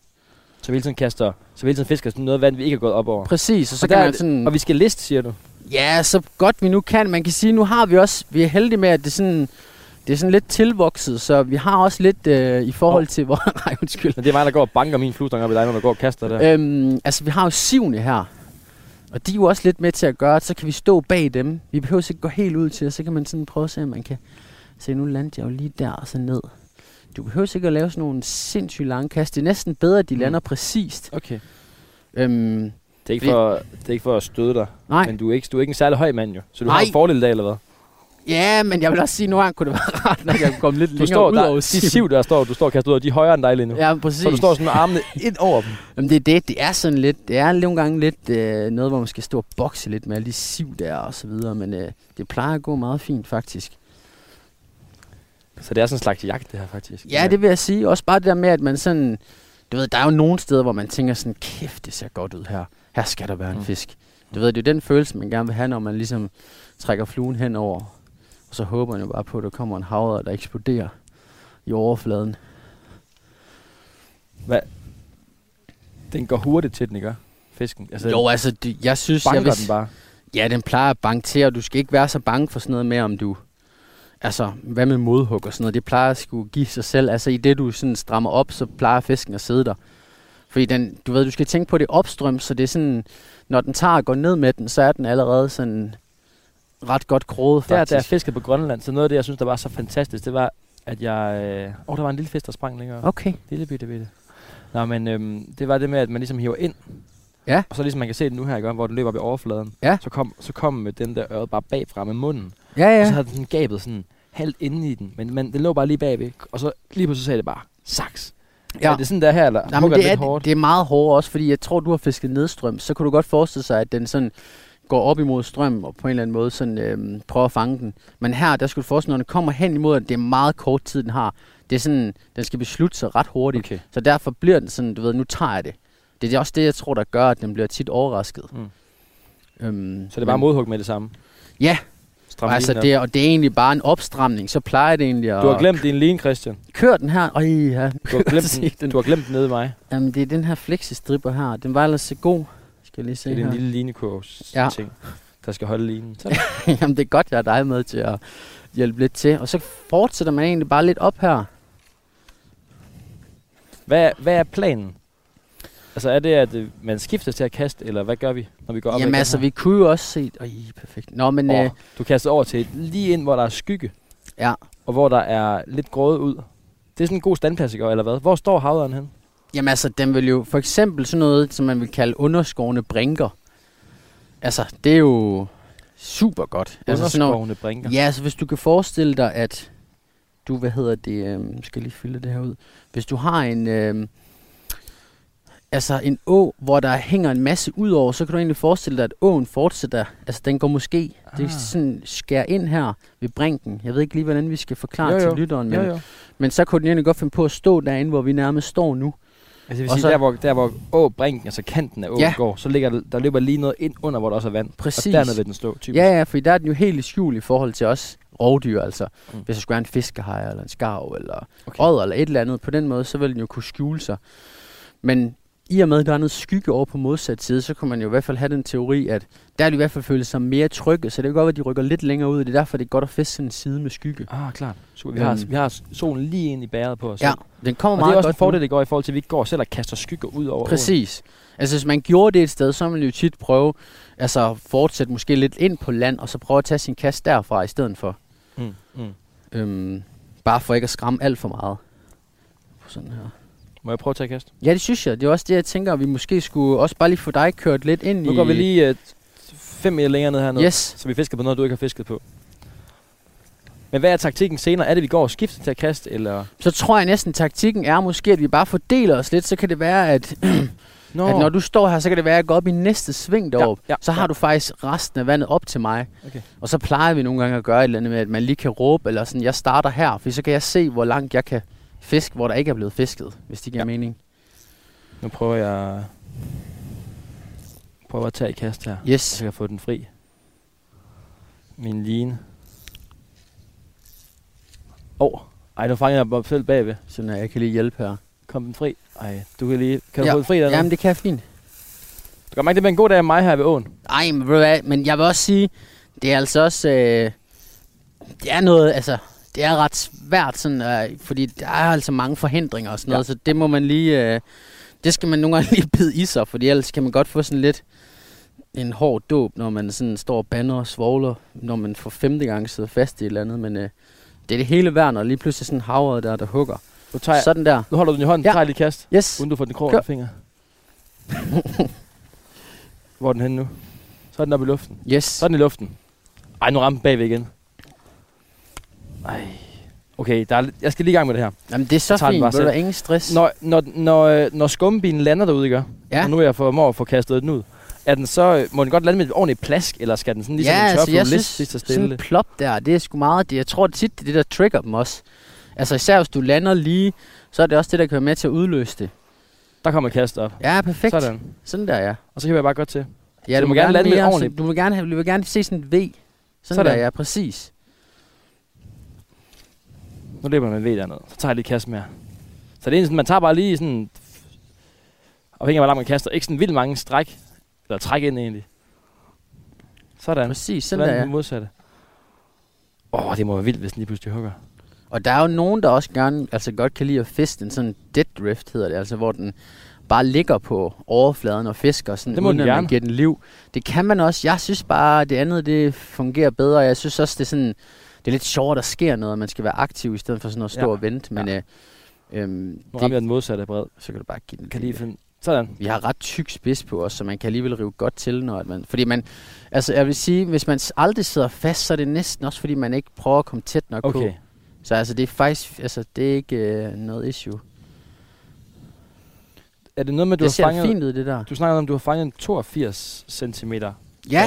Speaker 2: Så vi hele tiden kaster, så vi hele tiden fisker sådan noget vand, vi ikke er gået op over.
Speaker 3: Præcis, og så
Speaker 2: Og
Speaker 3: og
Speaker 2: der
Speaker 3: kan
Speaker 2: er
Speaker 3: man
Speaker 2: det-
Speaker 3: sådan...
Speaker 2: Og vi skal liste, siger du.
Speaker 3: Ja, så godt vi nu kan. Man kan sige, nu har vi også... Vi er heldige med, at det er sådan... Det er sådan lidt tilvokset, så vi har også lidt øh, i forhold
Speaker 2: Nå.
Speaker 3: til, hvor... Nej, undskyld.
Speaker 2: Men det er mig, der går og banker min fluestang op i dig, når du går og kaster der.
Speaker 3: Øhm, altså, vi har jo sivne her. Og de er jo også lidt med til at gøre, at så kan vi stå bag dem. Vi behøver ikke gå helt ud til, og så kan man sådan prøve at se, om man kan... Se, nu landte jeg jo lige der og så ned. Du behøver ikke at lave sådan nogle sindssygt lange kast. Det er næsten bedre, at de
Speaker 2: Mm.
Speaker 3: mm. lander præcist.
Speaker 2: Okay.
Speaker 3: Øhm,
Speaker 2: Det er ikke
Speaker 3: Fordi-
Speaker 2: for, det er ikke for at støde dig,
Speaker 3: nej,
Speaker 2: men du er, ikke, du er ikke en særlig høj mand jo, så du har
Speaker 3: Nej.
Speaker 2: en fordel i dag, eller hvad?
Speaker 3: Ja, men jeg vil også sige, at nogle gange kunne det være rart, når jeg kunne komme lidt
Speaker 2: Du
Speaker 3: længere
Speaker 2: står
Speaker 3: ud
Speaker 2: der,
Speaker 3: over
Speaker 2: de
Speaker 3: Sib.
Speaker 2: siv, der står, du står kastet ud, og de er højere end dig lige nu. Ja,
Speaker 3: Ja, præcis.
Speaker 2: så du står sådan med armene ind over dem.
Speaker 3: Jamen, det er det. Det er sådan lidt, det er nogle gange lidt øh, noget, hvor man skal stå og bokse lidt med alle de siv der og så videre, men øh, det plejer at gå meget fint faktisk.
Speaker 2: Så det er sådan en slags jagt, det her faktisk.
Speaker 3: Ja, det vil jeg sige. Også bare det der med, at man sådan... Du ved, der er jo nogle steder, hvor man tænker sådan, kæft, det ser godt ud her. Her skal der være en
Speaker 2: Mm.
Speaker 3: fisk. Du ved, det er jo den følelse, man gerne vil have, når man ligesom trækker fluen henover. Og så håber man jo bare på, at der kommer en havre, der eksploderer i overfladen.
Speaker 2: Den går hurtigt til den, ikke? Fisken. Altså,
Speaker 3: jo, altså, det, jeg synes...
Speaker 2: banker
Speaker 3: Jeg
Speaker 2: den bare.
Speaker 3: Ja, den plejer at banke til, og du skal ikke være så bange for sådan noget med, om du... Altså, hvad med modhug og sådan noget? Det plejer at skulle give sig selv. Altså, i det du sådan strammer op, så plejer fisken at sidde der. Fordi den, du ved, du skal tænke på, at det er opstrøm, så det er sådan... Når den tager og går ned med den, så er den allerede sådan ret godt kroget,
Speaker 2: Der,
Speaker 3: faktisk.
Speaker 2: der jeg fiskede på Grønland, så noget af det, jeg synes, der var så fantastisk, det var, at jeg... Åh, øh... oh, der var en lille fisk, der sprang længere. op.
Speaker 3: Okay.
Speaker 2: Lille bitte bitte. Nå, men øhm, det var det med, at man ligesom hiver ind.
Speaker 3: Ja.
Speaker 2: Og så ligesom man kan se den nu her, ikke? hvor den løber op i overfladen.
Speaker 3: Ja.
Speaker 2: Så kom, så kom øh, den der øre bare bagfra med munden.
Speaker 3: Ja,
Speaker 2: Ja. Og så
Speaker 3: ja.
Speaker 2: havde den sådan gabet sådan halvt inde i den. Men, men den lå bare lige bagved. Og så lige pludselig sagde det bare, saks. Ja. Er
Speaker 3: ja.
Speaker 2: det sådan der her, eller
Speaker 3: Nej, men
Speaker 2: hugger
Speaker 3: det,
Speaker 2: den
Speaker 3: er,
Speaker 2: lidt hårdt?
Speaker 3: det er meget hårdere også, fordi jeg tror, du har fisket nedstrøm. Så kunne du godt forestille sig, at den sådan går op imod strøm og på en eller anden måde sådan, øhm, prøver at fange den. Men her, der skulle du forestille dig, når den kommer hen imod, at det er meget kort tid, den har. Det er sådan, den skal beslutte sig ret hurtigt.
Speaker 2: Okay.
Speaker 3: Så derfor bliver den sådan, du ved, nu tager jeg det. Det er også det, jeg tror, der gør, at den bliver tit overrasket.
Speaker 2: Mm.
Speaker 3: Øhm,
Speaker 2: Så det er bare
Speaker 3: men-
Speaker 2: modhug med det samme?
Speaker 3: Ja.
Speaker 2: Stram
Speaker 3: og altså,
Speaker 2: linen op.
Speaker 3: det er, og det er egentlig bare en opstramning. Så plejer det egentlig at
Speaker 2: Du har glemt din line, Christian.
Speaker 3: køre den her. Øj, ja.
Speaker 2: Du har glemt den,
Speaker 3: Se den.
Speaker 2: du har glemt den nede i mig.
Speaker 3: Jamen, det er den her flexistripper her. Den var ellers så god. Skal jeg lige se
Speaker 2: Det er
Speaker 3: her.
Speaker 2: den lille linekurvs
Speaker 3: Ja.
Speaker 2: ja. ting, der skal holde linen. Så
Speaker 3: Jamen, det er godt, jeg har dig med til at hjælpe lidt til. Og så fortsætter man egentlig bare lidt op her.
Speaker 2: Hvad, er- hvad er planen? Altså er det, at øh, man skifter til at kaste, eller hvad gør vi, når vi går op?
Speaker 3: Jamen
Speaker 2: ad
Speaker 3: altså,
Speaker 2: den
Speaker 3: vi kunne jo også se... Øj, perfekt. Nå, men...
Speaker 2: her?
Speaker 3: Øh,
Speaker 2: Åh, Du kaster over til et, lige ind, hvor der er skygge,
Speaker 3: ja.
Speaker 2: og hvor der er lidt grået ud. Det er sådan en god standplads, ikke? eller hvad? Hvor står havderen hen?
Speaker 3: Jamen altså, den vil jo... For eksempel sådan noget, som man vil kalde underskårende brinker. Altså, det er jo super godt. Altså, sådan noget,
Speaker 2: Underskovene brinker.
Speaker 3: ja, altså hvis du kan forestille dig, at du, hvad hedder det, øhm, skal lige fylde det her ud. Hvis du har en, øhm, altså en å, hvor der hænger en masse ud over, så kan du egentlig forestille dig, at åen fortsætter. Altså den går måske, ah. det er
Speaker 2: Ah.
Speaker 3: sådan skær ind her ved brinken. Jeg ved ikke lige, hvordan vi skal forklare
Speaker 2: Jo, jo.
Speaker 3: til lytteren, men,
Speaker 2: Jo, jo.
Speaker 3: men så kunne den egentlig godt finde på at stå derinde, hvor vi nærmest står nu.
Speaker 2: Altså, det vil
Speaker 3: Og
Speaker 2: sige,
Speaker 3: så-
Speaker 2: der hvor, der hvor åbrinken, altså kanten af åen
Speaker 3: Ja.
Speaker 2: ja. går, så ligger der, der løber lige noget ind under, hvor der også er vand.
Speaker 3: Præcis.
Speaker 2: Og dernede vil den stå, typisk.
Speaker 3: Ja, ja, for der er den jo helt i skjul i forhold til os rovdyr, altså. Mm.
Speaker 2: Mm.
Speaker 3: Hvis der skulle være en fiskehej, eller en skarv, eller okay.
Speaker 2: Okay.
Speaker 3: odder, eller et eller andet, på den måde, så ville den jo kunne skjule sig. Men i og med, at der er noget skygge over på modsat side, så kunne man jo i hvert fald have den teori, at der vil de i hvert fald føle sig mere trygge, så det kan godt være, at de rykker lidt længere ud, det er derfor, det er godt at fiske sådan en side med skygge.
Speaker 2: Ah, klart. Super. Vi, har,
Speaker 3: Øhm.
Speaker 2: vi har solen lige ind i bæret på os.
Speaker 3: Ja,
Speaker 2: ikke?
Speaker 3: den kommer
Speaker 2: Og
Speaker 3: meget
Speaker 2: det er også
Speaker 3: godt
Speaker 2: en fordel, det går i forhold til, at vi ikke går selv og kaster skygger ud over åen.
Speaker 3: Præcis. Altså hvis man gjorde det et sted, så ville man jo tit prøve altså at fortsætte måske lidt ind på land, og så prøve at tage sin kast derfra i stedet for.
Speaker 2: Mm, mm.
Speaker 3: Øhm, bare for ikke at skræmme alt for meget. På sådan her.
Speaker 2: Må jeg prøve at tage kast?
Speaker 3: Ja, det synes jeg. Det er også det, jeg tænker, at vi måske skulle også bare lige få dig kørt lidt ind i...
Speaker 2: Nu går vi lige øh, 5 meter længere ned hernede,
Speaker 3: Yes.
Speaker 2: så vi fisker på noget, du ikke har fisket på. Men hvad er taktikken senere? Er det, vi går og skifter til at kaste, eller...
Speaker 3: Så tror jeg næsten, taktikken er måske, at vi bare fordeler os lidt. Så kan det være, at,
Speaker 2: Nå,
Speaker 3: at når du står her, så kan det være, at jeg går op i næste sving deroppe.
Speaker 2: ja,
Speaker 3: så har
Speaker 2: ja.
Speaker 3: du faktisk resten af vandet op til mig.
Speaker 2: Okay.
Speaker 3: Og så plejer vi nogle gange at gøre et eller andet med, at man lige kan råbe, eller sådan, jeg starter her, for så kan jeg se, hvor langt jeg kan fiske, hvor der ikke er blevet fisket, hvis det giver ja. mening.
Speaker 2: Nu prøver jeg... Prøver at tage et kast her. Så
Speaker 3: Yes.
Speaker 2: kan jeg få den fri. Min line. Åh, oh. ej, nu fanger jeg mig selv bagved.
Speaker 3: Sådan at jeg kan lige hjælpe her.
Speaker 2: Kom den fri. Ej, du kan lige... Kan du
Speaker 3: Ja.
Speaker 2: få den fri dernede?
Speaker 3: Jamen, det kan jeg fint.
Speaker 2: Du kan mærke, det bliver en god dag af mig her ved åen.
Speaker 3: Ej, men, ved du hvad, men jeg vil også sige, det er altså også, øh, det er noget, altså, det er ret svært, sådan, øh, fordi der er altså mange forhindringer og sådan ja.
Speaker 2: Ja.
Speaker 3: noget, så det må man lige, øh, det skal man nogle gange lige bide i sig, fordi ellers kan man godt få sådan lidt en hård dåb, når man sådan står og bander og svogler, når man for femte gang sidder fast i et eller andet, men øh, det er det hele værd, når lige pludselig sådan havret der, der hugger.
Speaker 2: Nu, tager jeg,
Speaker 3: Sådan der.
Speaker 2: nu holder du den i hånden,
Speaker 3: Ja.
Speaker 2: ja. tager lige kast.
Speaker 3: Yes.
Speaker 2: Uden du får den krog
Speaker 3: Kør.
Speaker 2: under finger. Hvor er den henne nu? Så er den oppe i luften.
Speaker 3: Yes.
Speaker 2: Så er den i luften. Ej, nu ramte den bagved igen. Ej. Okay, der er, lidt- jeg skal lige i gang med det her.
Speaker 3: Jamen, det er så
Speaker 2: Tager den
Speaker 3: fint.
Speaker 2: bare
Speaker 3: Ved du,
Speaker 2: selv.
Speaker 3: der er ingen stress.
Speaker 2: Når, når, når, øh, når skumbilen lander derude, ikke?
Speaker 3: Ja.
Speaker 2: Og nu er jeg formår at få kastet den ud. Er den så, øh, må den godt lande med et ordentligt plask, eller skal den sådan ligesom en tørflue altså, lidt sidst og
Speaker 3: sådan
Speaker 2: stille?
Speaker 3: en plop der, det er sgu meget det. Jeg tror det tit, det er det, der trigger dem også. Altså især hvis du lander lige, så er det også det, der kan være med til at udløse det.
Speaker 2: Der kommer kastet op.
Speaker 3: Ja, perfekt.
Speaker 2: Sådan.
Speaker 3: Sådan der, ja.
Speaker 2: Og så kan jeg bare godt til.
Speaker 3: ja
Speaker 2: Så du må gerne lande lidt
Speaker 3: mere,
Speaker 2: ordentligt.
Speaker 3: sådan- Du må gerne, have, du vil gerne se sådan et V. Sådan,
Speaker 2: Sådan.
Speaker 3: sådan. der, ja, præcis.
Speaker 2: Nu løber man ved dernede. Så tager jeg lige kast mere. Så det er sådan, man tager bare lige sådan... Afhængig af, hvor langt man kaster. Ikke sådan vildt mange stræk. Eller træk ind egentlig. Sådan.
Speaker 3: Præcis,
Speaker 2: Sådan
Speaker 3: sådan der,
Speaker 2: er
Speaker 3: ja.
Speaker 2: det modsatte. Åh, oh, det må være vildt, hvis den lige pludselig hugger.
Speaker 3: Og der er jo nogen, der også gerne, altså godt kan lide at fiske en sådan dead drift, hedder det, altså hvor den bare ligger på overfladen og fisker, sådan,
Speaker 2: Det må
Speaker 3: uden
Speaker 2: den
Speaker 3: at man
Speaker 2: gerne.
Speaker 3: giver den liv. Det kan man også. Jeg synes bare, at det andet det fungerer bedre. Jeg synes også, det er, sådan, det er lidt sjovt, der sker noget, og man skal være aktiv, i stedet for sådan at stå
Speaker 2: Ja.
Speaker 3: og vente. Men øh, øhm,
Speaker 2: Nu rammer
Speaker 3: det,
Speaker 2: jeg den modsatte bred.
Speaker 3: så kan du bare give den
Speaker 2: Kan
Speaker 3: lille-
Speaker 2: lige finde... Sådan.
Speaker 3: vi har ret tyk spids på os, så man kan alligevel rive godt til, når at man... Fordi man... Altså, jeg vil sige, hvis man s- aldrig sidder fast, så er det næsten også, fordi man ikke prøver at komme tæt nok på.
Speaker 2: Okay.
Speaker 3: Så altså, det er faktisk, altså, det er ikke øh, noget issue.
Speaker 2: Er det noget med, at du
Speaker 3: det ser
Speaker 2: har fanget...
Speaker 3: fint ud, det der.
Speaker 2: Du snakker om, at du har fanget en 82 cm.
Speaker 3: Ja,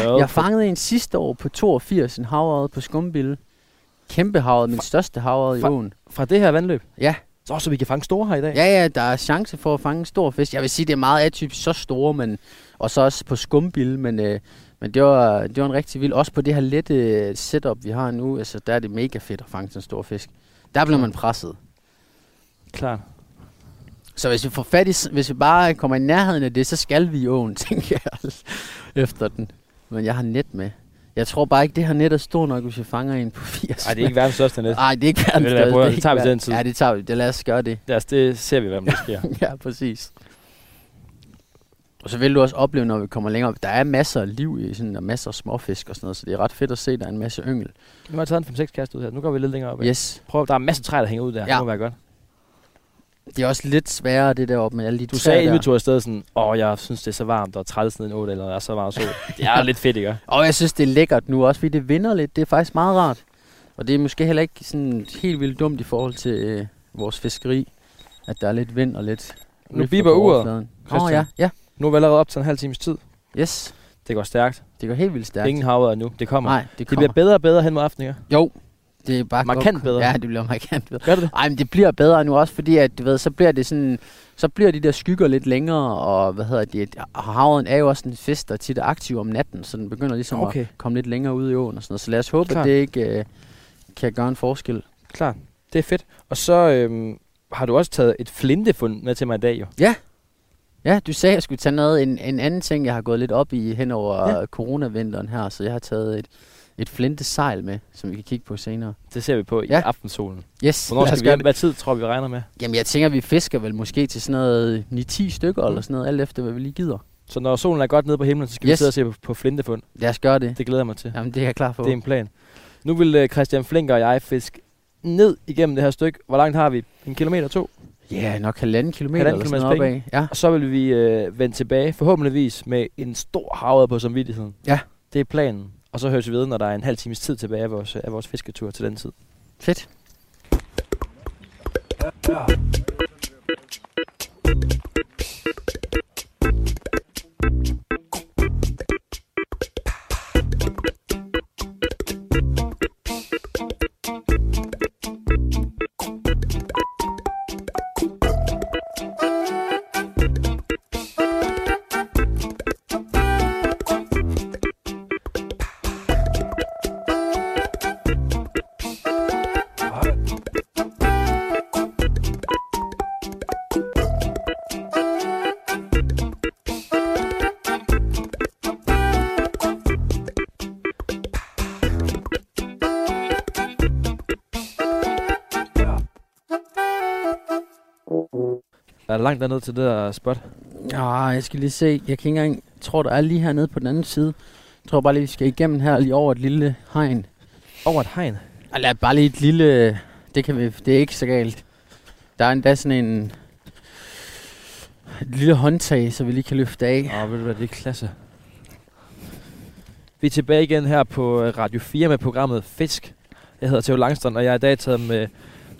Speaker 2: Hvad?
Speaker 3: jeg fangede en sidste år på 82, en havrede på skumbille. Kæmpe havrede, min største havrede i
Speaker 2: Fa-
Speaker 3: åen.
Speaker 2: Fra det her vandløb?
Speaker 3: Ja.
Speaker 2: Så, så vi kan fange store her i dag?
Speaker 3: Ja, ja, der er chance for at fange en stor fisk. Jeg vil sige, det er meget atypisk så store, men, og så også på skumbille, men, øh, men det, var, det var en rigtig vild. Også på det her lette øh, setup, vi har nu, altså, der er det mega fedt at fange sådan en stor fisk. Der bliver man presset.
Speaker 2: Klart.
Speaker 3: Så hvis vi får fat i, s- hvis vi bare kommer i nærheden af det, så skal vi i åen, tænker jeg, altså, efter den. Men jeg har net med. Jeg tror bare ikke, det her net er stort nok, hvis vi fanger en på 80.
Speaker 2: Nej, det er ikke verdens største net.
Speaker 3: Nej, det er ikke verdens
Speaker 2: Ved du hvad,
Speaker 3: største.
Speaker 2: prøv at-
Speaker 3: er
Speaker 2: det
Speaker 3: ikke
Speaker 2: tager vi til
Speaker 3: verdens-
Speaker 2: den tid.
Speaker 3: Ja, det tager vi. Det, lad os gøre det.
Speaker 2: Lad os, det ser vi, hvad der sker.
Speaker 3: ja, præcis. Og så vil du også opleve, når vi kommer længere op, der er masser af liv i sådan, og masser af småfisk og sådan noget, så det er ret fedt at se, der er en masse yngel.
Speaker 2: Nu har jeg taget en 5-6 kast ud her. Nu går vi lidt længere op.
Speaker 3: Yes.
Speaker 2: Prøv, der er masser af træer, der hænger ud der. Ja.
Speaker 3: Ja.
Speaker 2: Det må være godt.
Speaker 3: Det er også lidt sværere, det deroppe med alle de
Speaker 2: Du
Speaker 3: træer
Speaker 2: sagde, inden
Speaker 3: der.
Speaker 2: vi tog afsted sådan, åh, jeg synes, det er så varmt, og træls ned en 8, eller der er så varmt sol. Det er lidt fedt, ikke?
Speaker 3: Og jeg synes, det er lækkert nu også, fordi det vinder lidt. Det er faktisk meget rart. Og det er måske heller ikke sådan helt vildt dumt i forhold til øh, vores fiskeri, at der er lidt vind og lidt...
Speaker 2: Nu biber uret,
Speaker 3: Åh oh,
Speaker 2: Christian.
Speaker 3: ja, ja.
Speaker 2: Nu er vi allerede op til en halv times tid.
Speaker 3: Yes.
Speaker 2: Det går stærkt.
Speaker 3: Det går helt vildt
Speaker 2: Ja.
Speaker 3: stærkt.
Speaker 2: Ingen havre nu. Det kommer.
Speaker 3: Nej, det
Speaker 2: det
Speaker 3: kommer.
Speaker 2: bliver bedre og bedre hen mod aftenen, ikke?
Speaker 3: Jo, det er bare
Speaker 2: Markant
Speaker 3: godt.
Speaker 2: bedre.
Speaker 3: Ja, det bliver markant bedre.
Speaker 2: Gør det det?
Speaker 3: Ej, men det bliver bedre nu også, fordi at, du ved, så bliver det sådan, så bliver de der skygger lidt længere, og hvad hedder det, havren er jo også en fisk, der tit er aktiv om natten, så den begynder ligesom okay.
Speaker 2: Okay,
Speaker 3: at komme lidt længere ud i åen og sådan noget. Så lad os håbe,
Speaker 2: Klart.
Speaker 3: at det ikke øh, kan gøre en forskel.
Speaker 2: klart. Det er fedt. Og så øhm, har du også taget et flintefund med til mig i dag, jo.
Speaker 3: Ja, du sagde, at jeg skulle tage noget. En, en anden ting, jeg har gået lidt op i hen over
Speaker 2: Ja.
Speaker 3: ja. coronavinteren her, så jeg har taget et, et flintesejl med, som vi kan kigge på senere.
Speaker 2: Det ser vi på i
Speaker 3: Ja.
Speaker 2: aftensolen.
Speaker 3: Yes,
Speaker 2: Hvornår
Speaker 3: lad os
Speaker 2: skal vi
Speaker 3: gøre
Speaker 2: hjem?
Speaker 3: det.
Speaker 2: Hvad tid tror vi, vi regner med?
Speaker 3: Jamen, jeg tænker, vi fisker vel måske til sådan noget 9-10 stykker eller sådan noget, alt efter, hvad vi lige gider.
Speaker 2: Så når solen er godt nede på himlen, så skal yes. vi
Speaker 3: Yes.
Speaker 2: sidde og se på, på flintefund.
Speaker 3: Lad os gøre det.
Speaker 2: Det glæder jeg mig til.
Speaker 3: Jamen, det er jeg klar på.
Speaker 2: Det er en plan. Nu vil øh, Christian Flinker og jeg fiske ned igennem det her stykke. Hvor langt har vi? En kilometer to.
Speaker 3: Ja, yeah, nok halvanden kilometer
Speaker 2: Halvanden
Speaker 3: eller sådan noget opad. Ja.
Speaker 2: Og så vil vi øh, vende tilbage, forhåbentligvis med en stor havre på samvittigheden.
Speaker 3: Ja.
Speaker 2: Det er planen. Og så høres vi ved, når der er en halv times tid tilbage af vores, af vores fisketur til den tid.
Speaker 3: Fedt.
Speaker 2: Der er langt dernede til det der spot.
Speaker 3: Ah, jeg skal lige se. Jeg kan ikke engang... Jeg tror, der er lige hernede på den anden side. Jeg tror bare lige, vi skal igennem her lige over et lille hegn.
Speaker 2: Over et hegn.
Speaker 3: Eller bare lige et lille... Det, kan vi, det er ikke så galt. Der er endda sådan en... Et lille håndtag, så vi lige kan løfte af.
Speaker 2: Åh, ved du hvad, det er klasse. Vi er tilbage igen her på øh, Radio 4 med programmet Fisk. Jeg hedder Theo Langstrand, og jeg er i dag taget med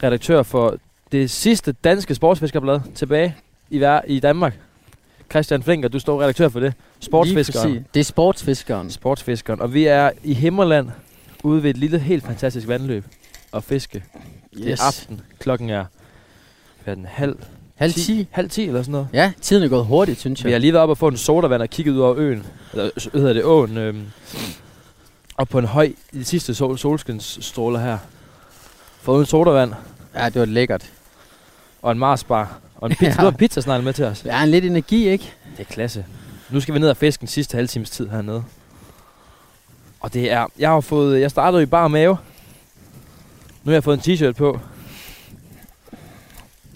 Speaker 2: redaktør for det sidste danske sportsfiskerblad tilbage i, ver- i Danmark. Christian Flinker, du står redaktør for det. Sportsfiskeren.
Speaker 3: Det er sportsfiskeren.
Speaker 2: Sportsfiskeren. Og vi er i Himmerland ude ved et lille, helt fantastisk vandløb og fiske. Det er aften. Klokken er hvad er den, halv,
Speaker 3: Halv 10.
Speaker 2: halv 10 eller sådan noget.
Speaker 3: Ja, tiden er gået hurtigt, synes
Speaker 2: Vi har
Speaker 3: jeg.
Speaker 2: lige været op og få en sodavand og kigget ud over øen. Eller s- hvad hedder det, åen. Øhm, og på en høj, i de sidste sol, solskinsstråler her. Fået en sodavand
Speaker 3: Ja, det var lækkert.
Speaker 2: og en marsbar. Og en pizza.
Speaker 3: Ja.
Speaker 2: Du har en pizzasnegl med til os.
Speaker 3: Der er en lidt energi, ikke?
Speaker 2: Det er klasse. Nu skal vi ned og fiske den sidste halve times tid hernede. Og det er... Jeg har fået... Jeg startede i bar mave. Nu har jeg fået en t-shirt på.
Speaker 3: Mm.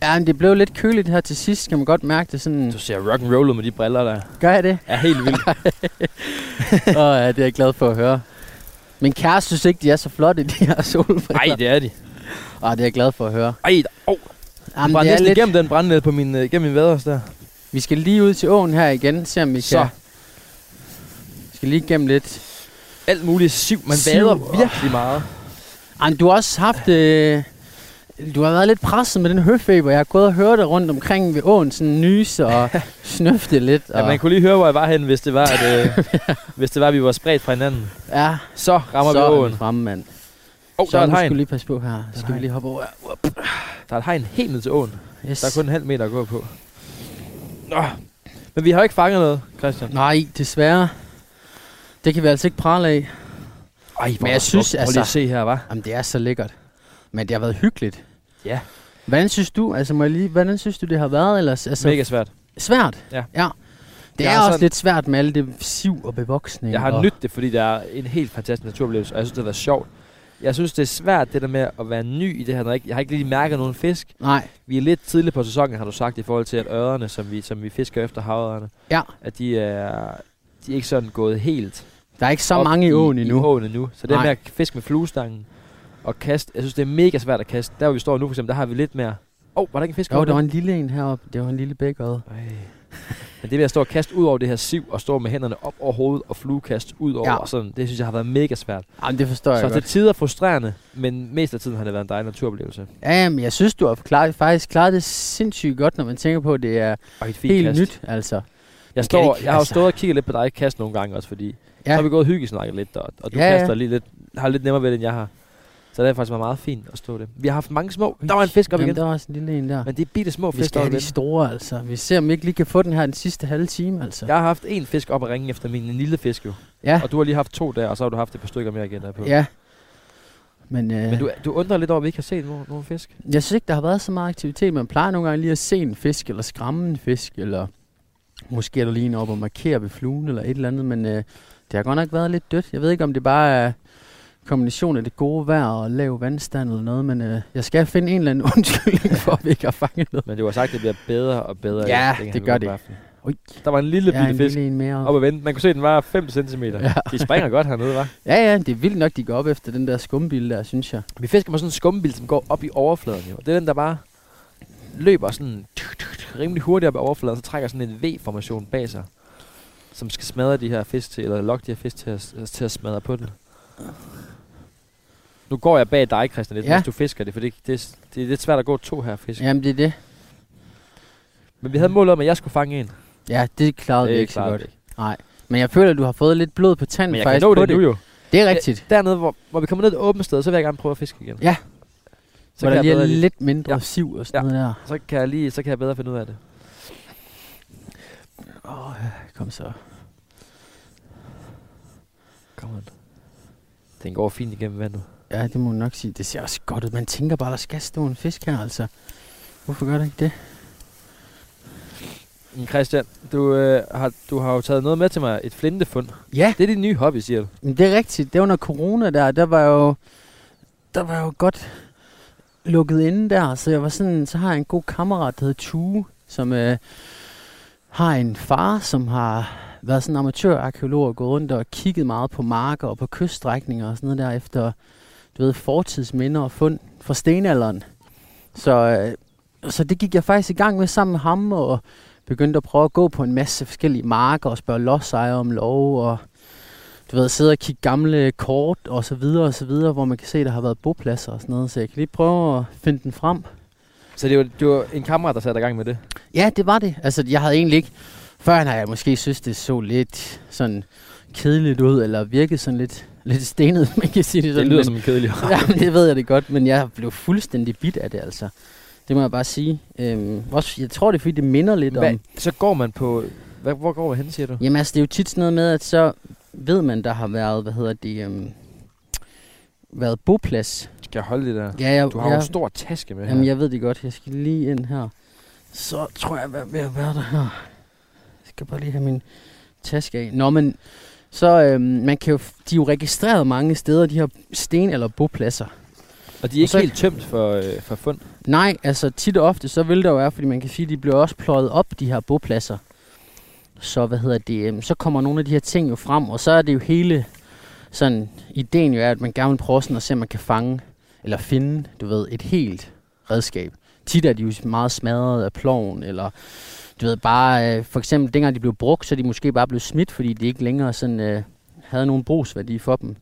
Speaker 3: Ja, men det blev lidt køligt her til sidst, kan man godt mærke det sådan.
Speaker 2: Du ser rock and roll med de briller der.
Speaker 3: Gør jeg det?
Speaker 2: Er helt vildt.
Speaker 3: Åh oh, ja, det er jeg glad for at høre. Min kæreste synes ikke, de er så flotte, de her solbriller.
Speaker 2: Nej, det er de.
Speaker 3: Åh, det er jeg glad for at høre.
Speaker 2: Ej, oh,
Speaker 3: Jamen,
Speaker 2: bare
Speaker 3: det er
Speaker 2: næsten
Speaker 3: lidt...
Speaker 2: igennem den brændnede på min, øh, igennem min vaders der.
Speaker 3: Vi skal lige ud til åen her igen, se om vi
Speaker 2: Så.
Speaker 3: kan... Vi skal lige gennem lidt.
Speaker 2: Alt muligt siv. Man
Speaker 3: Siv.
Speaker 2: vader virkelig meget.
Speaker 3: Ej, men du har også haft... Øh... Du har været lidt presset med den høfeber. Jeg har gået og hørt det rundt omkring ved åen, sådan nyse og snøfte lidt.
Speaker 2: Ja,
Speaker 3: Og...
Speaker 2: man kunne lige høre, hvor jeg var hen, hvis det var, at, øh, hvis det var, at vi var spredt fra hinanden.
Speaker 3: ja,
Speaker 2: Så rammer
Speaker 3: så
Speaker 2: vi
Speaker 3: er
Speaker 2: åen.
Speaker 3: vi fremme, mand.
Speaker 2: Oh,
Speaker 3: så
Speaker 2: der er et
Speaker 3: nu skal vi
Speaker 2: hegn.
Speaker 3: lige passe på her. Så skal vi
Speaker 2: hegn.
Speaker 3: lige hoppe over. her.
Speaker 2: Der er et hegn helt ned til åen.
Speaker 3: Yes.
Speaker 2: Der er kun en halv meter at gå på. Nå. Men vi har jo ikke fanget noget, Christian.
Speaker 3: Nej, desværre. Det kan vi altså ikke prale af.
Speaker 2: Ej,
Speaker 3: Men jeg synes,
Speaker 2: Prøv lige at
Speaker 3: altså-
Speaker 2: se her, var.
Speaker 3: Jamen, det er så lækkert. Men det har været hyggeligt.
Speaker 2: Ja.
Speaker 3: Hvordan synes du, altså må jeg lige, hvordan synes du, det har været ellers? Altså,
Speaker 2: Mega svært.
Speaker 3: Svært?
Speaker 2: Ja.
Speaker 3: ja. Det
Speaker 2: Jeg
Speaker 3: er
Speaker 2: har
Speaker 3: også
Speaker 2: sådan-
Speaker 3: lidt svært med alle det siv og bevoksning.
Speaker 2: Jeg har
Speaker 3: og...
Speaker 2: nydt det, fordi det er en helt fantastisk naturoplevelse, og jeg synes, det har været sjovt. Jeg synes, det er svært, det der med at være ny i det her. når jeg ikke- Jeg har ikke lige mærket nogen fisk.
Speaker 3: Nej,
Speaker 2: Vi er lidt tidligt på sæsonen, har du sagt, i forhold til, at ørerne, som vi, som vi fisker efter havørerne,
Speaker 3: Ja.
Speaker 2: at de er, de er ikke sådan gået helt
Speaker 3: der er ikke så
Speaker 2: op
Speaker 3: mange i åen endnu.
Speaker 2: I åen endnu. Så det
Speaker 3: Nej.
Speaker 2: med at fiske med fluestangen og kaste, jeg synes, det er mega svært at kaste. Der, hvor vi står nu, for eksempel, der har vi lidt mere... Åh, oh, var der ikke en fisk?
Speaker 3: Jo,
Speaker 2: oppe
Speaker 3: der
Speaker 2: der?
Speaker 3: var en lille en heroppe. Det var en lille bækøjet.
Speaker 2: Ej. Men det med at stå og kaste ud over det her siv, og stå med hænderne op over hovedet og fluekast ud over,
Speaker 3: Ja.
Speaker 2: ja. og sådan, det synes jeg har været mega svært.
Speaker 3: Jamen, det forstår jeg
Speaker 2: Så
Speaker 3: godt.
Speaker 2: til tider frustrerende, men mest af tiden har det været en dejlig naturoplevelse.
Speaker 3: Ja, men jeg synes, du har klaret, faktisk klaret det sindssygt godt, når man tænker på, at det er
Speaker 2: Og et fint
Speaker 3: helt
Speaker 2: kast.
Speaker 3: nyt, altså.
Speaker 2: Jeg,
Speaker 3: Man
Speaker 2: står,
Speaker 3: kan ikke,
Speaker 2: jeg har jo
Speaker 3: altså.
Speaker 2: stået og kigget lidt på dig kaste nogle gange også, fordi ja. så har vi gået og hyggesnakket lidt, og, og du
Speaker 3: Ja,
Speaker 2: ja,
Speaker 3: ja.
Speaker 2: kaster lige lidt, har lidt nemmere ved det, end jeg har. Så det har faktisk været meget fint at stå det. Vi har haft mange små. Der var en fisk op
Speaker 3: Jamen,
Speaker 2: igen.
Speaker 3: der var også en lille en der.
Speaker 2: Men det er bitte små
Speaker 3: Vi
Speaker 2: fisk
Speaker 3: skal
Speaker 2: op
Speaker 3: have de
Speaker 2: igen.
Speaker 3: store, altså. Vi ser, om vi ikke lige kan få den her den sidste halve time, altså.
Speaker 2: Jeg har haft en fisk op at ringe efter min lille fisk jo.
Speaker 3: Ja.
Speaker 2: Og du har lige haft to der, og så har du haft et par stykker mere igen derpå.
Speaker 3: Ja. Men, øh,
Speaker 2: Men du, du undrer lidt over, at vi ikke har set nogen, nogen fisk.
Speaker 3: jeg synes ikke, der har været så meget aktivitet. Man plejer nogle gange lige at se en fisk, eller skræmme en fisk, eller måske er der lige en op og markere ved fluen, eller et eller andet. Men øh, det har godt nok været lidt dødt. Jeg ved ikke, om det bare er kombination af det gode vejr og lav vandstand eller noget, men øh, jeg skal finde en eller anden undskyldning for, at vi ikke har fanget noget.
Speaker 2: Men det var sagt, at det bliver bedre og bedre.
Speaker 3: Ja,
Speaker 2: kan
Speaker 3: det
Speaker 2: han
Speaker 3: gør
Speaker 2: godt
Speaker 3: det.
Speaker 2: bekræfte.
Speaker 3: Ui.
Speaker 2: Der var en lille
Speaker 3: Ja,
Speaker 2: bitte
Speaker 3: en
Speaker 2: fisk
Speaker 3: lille en mere.
Speaker 2: op at vente. Man kunne se, at den var 5 cm.
Speaker 3: Ja.
Speaker 2: Ja. De springer godt hernede, var.
Speaker 3: Ja, ja, det er vildt nok, de går op efter den der skumbil der, synes jeg.
Speaker 2: Vi fisker med sådan en skumbil, som går op i overfladen. Jo. Det er den, der bare løber sådan rimelig hurtigt op i overfladen, så trækker sådan en V-formation bag sig, som skal smadre de her fisk til, eller lokke de her fisk til at, til at smadre på den. Nu går jeg bag dig, Christian, lidt,
Speaker 3: Ja.
Speaker 2: ja. mens du fisker det, for det, det, det er lidt svært at gå to her fisk. Ja.
Speaker 3: Jamen, det er det.
Speaker 2: Men vi havde målet om, at jeg skulle fange en.
Speaker 3: Ja, det klarede vi
Speaker 2: Det
Speaker 3: ikke så
Speaker 2: klarede
Speaker 3: godt.
Speaker 2: vi ikke.
Speaker 3: Men jeg føler, at du har fået lidt blod på tanden
Speaker 2: Men jeg kan
Speaker 3: faktisk
Speaker 2: nå
Speaker 3: på
Speaker 2: det, nu jo.
Speaker 3: Det er rigtigt.
Speaker 2: Dernede, hvor, hvor vi kommer ned et åbent sted, så vil jeg gerne prøve at fiske igen.
Speaker 3: Ja.
Speaker 2: Så
Speaker 3: Så hvor
Speaker 2: kan,
Speaker 3: der
Speaker 2: jeg
Speaker 3: lige er
Speaker 2: bedre lige,
Speaker 3: lidt mindre
Speaker 2: Ja.
Speaker 3: siv og sådan
Speaker 2: Ja.
Speaker 3: noget der.
Speaker 2: så, kan jeg lige, så kan jeg bedre finde ud af det.
Speaker 3: Åh, oh, kom så.
Speaker 2: Kom on. Den går fint igennem vandet.
Speaker 3: Ja, det må man nok sige. Det ser også godt ud. Man tænker bare, der skal stå en fisk her, altså. Hvorfor gør der ikke det?
Speaker 2: Men Mm, Christian, du, øh, har, du har jo taget noget med til mig. Et flintefund.
Speaker 3: Ja,
Speaker 2: Det er din nye hobby, siger du.
Speaker 3: men det er rigtigt. Det var under corona der. Der var jo, der var jo godt lukket inde der. Så jeg var sådan, så har jeg en god kammerat, der hedder Tue, som øh, har en far, som har været sådan en amatørarkeolog og gået rundt og kigget meget på marker og på kyststrækninger og sådan noget der efter, du ved, fortidsminder og fund fra stenalderen. Så, øh, så det gik jeg faktisk i gang med sammen med ham og begyndte at prøve at gå på en masse forskellige marker og spørge lodsejere om lov og du ved, sidde og kigge gamle kort og så videre og så videre, hvor man kan se, at der har været bopladser og sådan noget. Så jeg kan lige prøve at finde den frem.
Speaker 2: Så det var, det var en kammerat, der satte i gang med det.
Speaker 3: Ja, det var det. Altså, jeg havde egentlig ikke... Før har jeg måske synes, det så lidt sådan kedeligt ud, eller virkede sådan lidt, lidt stenet, man kan sige det sådan.
Speaker 2: Det lyder
Speaker 3: men-
Speaker 2: som en kedelig
Speaker 3: ja, men det ved jeg det godt, men jeg blev fuldstændig bit af det, altså. Det må jeg bare sige. Øhm, også, jeg tror, det er, fordi det minder lidt
Speaker 2: Hvad,
Speaker 3: om...
Speaker 2: så går man på... Hvad, hvor går man hen, siger du?
Speaker 3: Jamen altså, det er jo tit sådan noget med, at så ved man, der har været, hvad hedder det, øhm, været boplads.
Speaker 2: Skal jeg holde det der?
Speaker 3: Ja, jeg,
Speaker 2: Du har jo
Speaker 3: jeg,
Speaker 2: en stor taske med
Speaker 3: Jamen,
Speaker 2: her.
Speaker 3: jeg ved det godt. Jeg skal lige ind her. Så tror jeg, jeg er ved at være der her. Jeg skal bare lige have min taske af. Nå, men så øhm, man kan jo, f- de er jo registreret mange steder, de her sten- eller bopladser.
Speaker 2: Og de er ikke
Speaker 3: så-
Speaker 2: helt tømt for, øh, for fund.
Speaker 3: Nej, altså tit og ofte, så vil der jo være, fordi man kan sige, at de bliver også pløjet op, de her bopladser. Så, hvad hedder det, øhm, så kommer nogle af de her ting jo frem, og så er det jo hele sådan, ideen jo er, at man gerne vil prøve sådan at se, om man kan fange, eller finde, du ved, et helt redskab. Tit er de jo meget smadret af ploven, eller du ved bare, øh, for eksempel dengang de blev brugt, så er de måske bare blevet smidt, fordi de ikke længere sådan, øh, havde nogen brugsværdi for dem.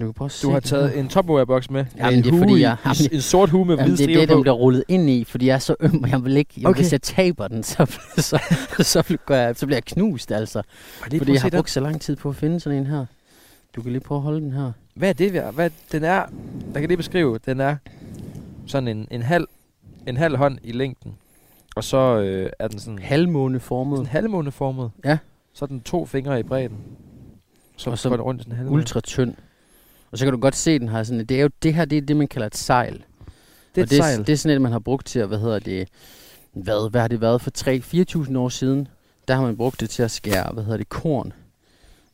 Speaker 3: Du, kan prøve at
Speaker 2: Du
Speaker 3: se
Speaker 2: har
Speaker 3: det
Speaker 2: taget en topwear-boks med.
Speaker 3: Jamen,
Speaker 2: en
Speaker 3: det er fordi,
Speaker 2: hue i,
Speaker 3: jeg-
Speaker 2: i s-
Speaker 3: jamen,
Speaker 2: en sort hue med hvide
Speaker 3: Jamen, det er
Speaker 2: striber
Speaker 3: det, der
Speaker 2: på.
Speaker 3: bliver rullet ind i, fordi jeg er så øm, og jeg vil ikke... Jamen, okay.
Speaker 2: Okay.
Speaker 3: Hvis jeg taber den, så, så, så, går jeg, så bliver jeg knust, altså.
Speaker 2: Fordi,
Speaker 3: fordi jeg har brugt så lang tid på at finde sådan en her. Du kan lige prøve at holde den her.
Speaker 2: Hvad er det, vi har? Hvad, den er, der kan lige beskrive, den er sådan en, en, halv, en halv hånd i længden. Og så øh, er den sådan, sådan
Speaker 3: Halvmåneformet,
Speaker 2: halvmåneformet.
Speaker 3: Ja.
Speaker 2: Så er den to fingre i bredden. Så,
Speaker 3: Og
Speaker 2: så
Speaker 3: så
Speaker 2: går den rundt i sådan en halvmåne.
Speaker 3: ultra tynd. Og så kan du godt se, den har sådan... Det er jo det her, det er det, man kalder et sejl.
Speaker 2: det er
Speaker 3: og
Speaker 2: et
Speaker 3: det, er-
Speaker 2: sejl.
Speaker 3: det er sådan et, man har brugt til at, hvad hedder det... Hvad, hvad har det været for 3-4.000 år siden? Der har man brugt det til at skære, hvad hedder det, korn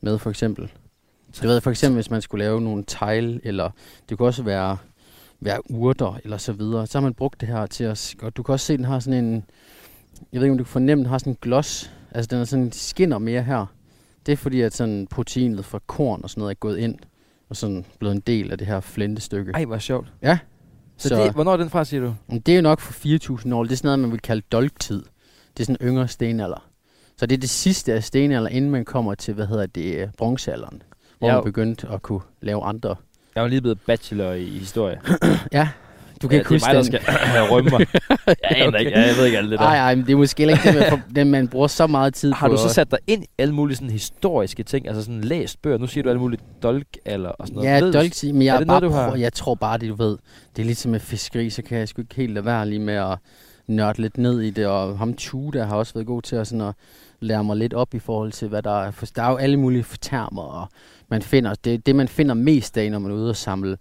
Speaker 3: med, for eksempel. Så du ved, for eksempel, hvis man skulle lave nogle tegl, eller det kunne også være, være urter, eller så videre, så har man brugt det her til at... Og du kan også se, den har sådan en... Jeg ved ikke, om du kan fornemme, den har sådan en gloss. Altså, den er sådan, skinner mere her. Det er fordi, at sådan proteinet fra korn og sådan noget er gået ind, og sådan blevet en del af det her flintestykke.
Speaker 2: Ej, hvor sjovt.
Speaker 3: Ja.
Speaker 2: Så,
Speaker 3: Så-
Speaker 2: så det, hvornår er den fra, siger du?
Speaker 3: Men det er jo nok for 4.000 år. Det er sådan noget, man vil kalde dolktid. Det er sådan yngre stenalder. Så det er det sidste af stenalder, inden man kommer til, hvad hedder det, øh, bronzealderen. Hvor
Speaker 2: Ja.
Speaker 3: man begyndte at kunne lave andre.
Speaker 2: Jeg er lige blevet bachelor i historie.
Speaker 3: Du kan ikke huske den.
Speaker 2: skal rømme mig. Jeg aner ikke. Jeg ved ikke alt
Speaker 3: Nej, nej, men det er måske heller ikke det, man, for, det, man bruger så meget tid
Speaker 2: Har
Speaker 3: på.
Speaker 2: du så
Speaker 3: at-
Speaker 2: sat dig ind i alle mulige sådan historiske ting? Altså sådan læst bøger? Nu siger du alle mulige dolk eller og sådan noget.
Speaker 3: Ja,
Speaker 2: Ved du-
Speaker 3: dolktid, men jeg,
Speaker 2: Er
Speaker 3: er
Speaker 2: det
Speaker 3: bare
Speaker 2: noget, du har-
Speaker 3: prøver, jeg tror bare, det du ved, det er ligesom med fiskeri, så kan jeg sgu ikke helt lade være lige med at nørde lidt ned i det, og ham Tue, der har også været god til at, sådan at lære mig lidt op i forhold til, hvad der er, for der er jo alle mulige termer, og man finder, det, det man finder mest af, når man er ude og samle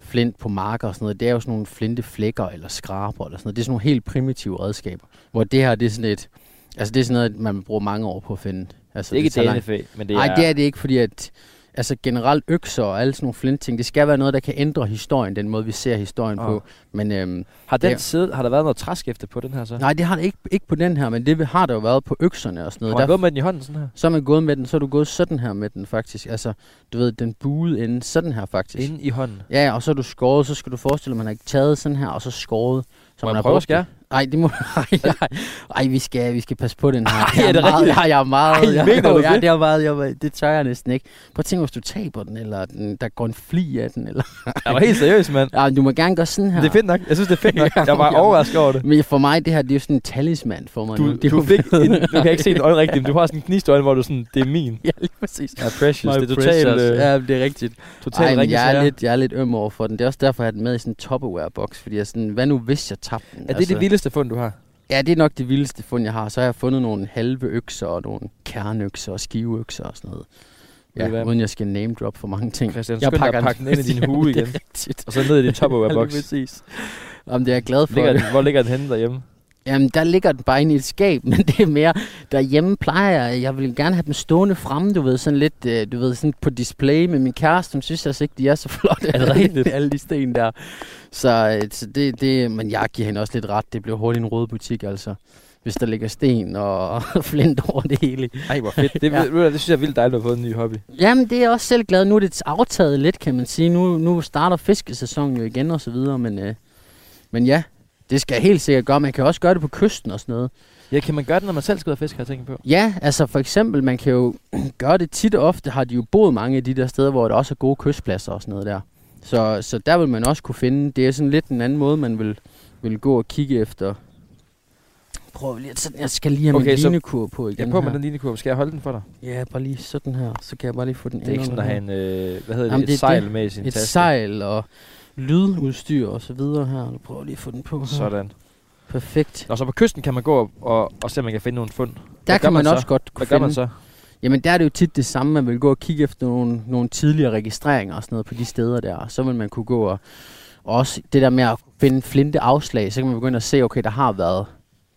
Speaker 3: flint på marker og sådan noget, det er jo sådan nogle flinteflækker eller skraber eller sådan noget. Det er sådan nogle helt primitive redskaber, hvor det her, det er sådan et, altså det er sådan noget, man bruger mange år på at finde. Altså,
Speaker 2: Det er ikke
Speaker 3: tager lang
Speaker 2: et DNFA, men det er...
Speaker 3: Nej, det er det ikke, fordi at altså generelt økser og alle sådan nogle flintting, det skal være noget, der kan ændre historien, den måde, vi ser historien
Speaker 2: Åh.
Speaker 3: på. Men øhm,
Speaker 2: Har,
Speaker 3: det
Speaker 2: den
Speaker 3: er-
Speaker 2: side, har der været noget træskæfte på den her så?
Speaker 3: nej, det har det ikke, ikke på den her, men det har der jo været på økserne og sådan
Speaker 2: Har
Speaker 3: noget.
Speaker 2: man
Speaker 3: Der,
Speaker 2: gået med den i hånden sådan her?
Speaker 3: så er man gået med den, så er du gået sådan her med den faktisk. Altså, du ved, den buede inden sådan her faktisk.
Speaker 2: Inde i hånden.
Speaker 3: Ja, ja, og så er du skåret, så skal du forestille dig, at man har taget sådan her, og så skåret. Så
Speaker 2: Må
Speaker 3: man
Speaker 2: jeg
Speaker 3: har
Speaker 2: prøve at
Speaker 3: brugt
Speaker 2: skære?
Speaker 3: det. Nej, det må ej, ej, ej, vi skal, vi skal passe på den her.
Speaker 2: er
Speaker 3: jeg
Speaker 2: det
Speaker 3: meget,
Speaker 2: rigtigt?
Speaker 3: jeg, jeg er meget,
Speaker 2: Ej,
Speaker 3: jeg,
Speaker 2: mener du
Speaker 3: jeg,
Speaker 2: det?
Speaker 3: det? er meget, jeg, det tør jeg næsten ikke. Prøv at tænke, hvis du taber den, eller den, der går en fli af den, eller...
Speaker 2: Jeg var helt seriøs, mand.
Speaker 3: Ej, men du må gerne gøre sådan her.
Speaker 2: Det er fedt nok. Jeg synes, det er fedt nok.
Speaker 3: Ja,
Speaker 2: Jeg var
Speaker 3: ja.
Speaker 2: overrasket over det.
Speaker 3: Men for mig, det her, det er jo sådan en talisman for mig.
Speaker 2: Du,
Speaker 3: nu. det er
Speaker 2: du
Speaker 3: jo
Speaker 2: fik
Speaker 3: bedre.
Speaker 2: en, du kan ikke se en øjne rigtigt, men du har sådan en gnist i øjnene, hvor du sådan, det er min.
Speaker 3: Ja, lige præcis.
Speaker 2: Ja, precious.
Speaker 3: My
Speaker 2: det er totalt,
Speaker 3: precious.
Speaker 2: øh,
Speaker 3: ja, men det er rigtigt.
Speaker 2: totalt
Speaker 3: Ej, men
Speaker 2: ringe
Speaker 3: jeg er,
Speaker 2: sager.
Speaker 3: lidt, jeg er lidt øm over for den. Det er også derfor, jeg har den med i sådan en Tupperware-boks. Fordi jeg er sådan, hvad nu hvis jeg tabte den? Altså-
Speaker 2: Er det det vildeste fund, du har?
Speaker 3: Ja, det er nok det vildeste fund, jeg har. Så har jeg fundet nogle halve økser og nogle kerneøkser og skiveøkser og sådan noget.
Speaker 2: Ved du hvad?
Speaker 3: Ja, uden jeg skal name drop for mange ting.
Speaker 2: Christian,
Speaker 3: jeg
Speaker 2: skynd dig at pakke den ind i din
Speaker 3: Jamen,
Speaker 2: hue
Speaker 3: det er
Speaker 2: igen.
Speaker 3: rigtigt.
Speaker 2: Og så ned i din Tupperware-boks.
Speaker 3: Ja, lige præcis. Jamen, det er jeg glad for.
Speaker 2: Ligger den, hvor ligger den henne derhjemme?
Speaker 3: Jamen, der ligger den bare inde i et skab, men det er mere, derhjemme plejer jeg, jeg vil gerne have dem stående fremme, du ved, sådan lidt, øh, du ved, sådan på display, men min kæreste, hun synes altså ikke, de er så flotte,
Speaker 2: Er det rigtigt?
Speaker 3: alle de sten der. Så, øh, så det, det, men jeg giver hende også lidt ret, det bliver hurtigt en rød butik, altså, hvis der ligger sten og flint over det hele.
Speaker 2: Ej, hvor fedt. Det,
Speaker 3: Ja.
Speaker 2: ved du hvad, det synes jeg er vildt dejligt at få en ny hobby.
Speaker 3: Jamen, det er jeg også selv glad, nu er det aftaget lidt, kan man sige, nu, nu starter fiskesæsonen jo igen og så videre, men, øh, men ja, Det skal jeg helt sikkert gøre. Man kan også gøre det på kysten og sådan noget.
Speaker 2: Ja, kan man gøre det, når man selv skal ud og fiske, har jeg tænkt på.
Speaker 3: Ja, altså for eksempel, man kan jo gøre det tit og ofte, har de jo boet mange af de der steder, hvor der også er gode kystpladser og sådan noget der. Så, så der vil man også kunne finde, det er sådan lidt en anden måde, man vil, vil gå og kigge efter. Prøv lige, at- sådan, jeg skal lige have okay,
Speaker 2: Okay,
Speaker 3: min
Speaker 2: så-
Speaker 3: linekur på igen
Speaker 2: Jeg er på
Speaker 3: her.
Speaker 2: med den linekurve. Skal jeg holde den for dig?
Speaker 3: Ja, bare lige sådan her, så kan jeg bare lige få den
Speaker 2: Det er ikke sådan at have en, øh, hvad hedder
Speaker 3: Jamen,
Speaker 2: det,
Speaker 3: det er
Speaker 2: et sejl med i sin
Speaker 3: et
Speaker 2: taske.
Speaker 3: sejl og lydudstyr og så videre her. Nu prøver jeg lige at få den på her.
Speaker 2: Sådan.
Speaker 3: Perfekt.
Speaker 2: Og så på kysten kan man gå op og, og se, om man kan finde nogle fund.
Speaker 3: Der
Speaker 2: gør
Speaker 3: kan
Speaker 2: man
Speaker 3: man,
Speaker 2: så?
Speaker 3: også godt kunne
Speaker 2: Hvad gør
Speaker 3: finde
Speaker 2: man så?
Speaker 3: Jamen der er det jo tit det samme, man vil gå og kigge efter nogle, nogle tidligere registreringer og sådan noget på de steder der, og så vil man kunne gå og, og også det der med at finde flinte afslag, så kan man begynde at se, okay, der har været,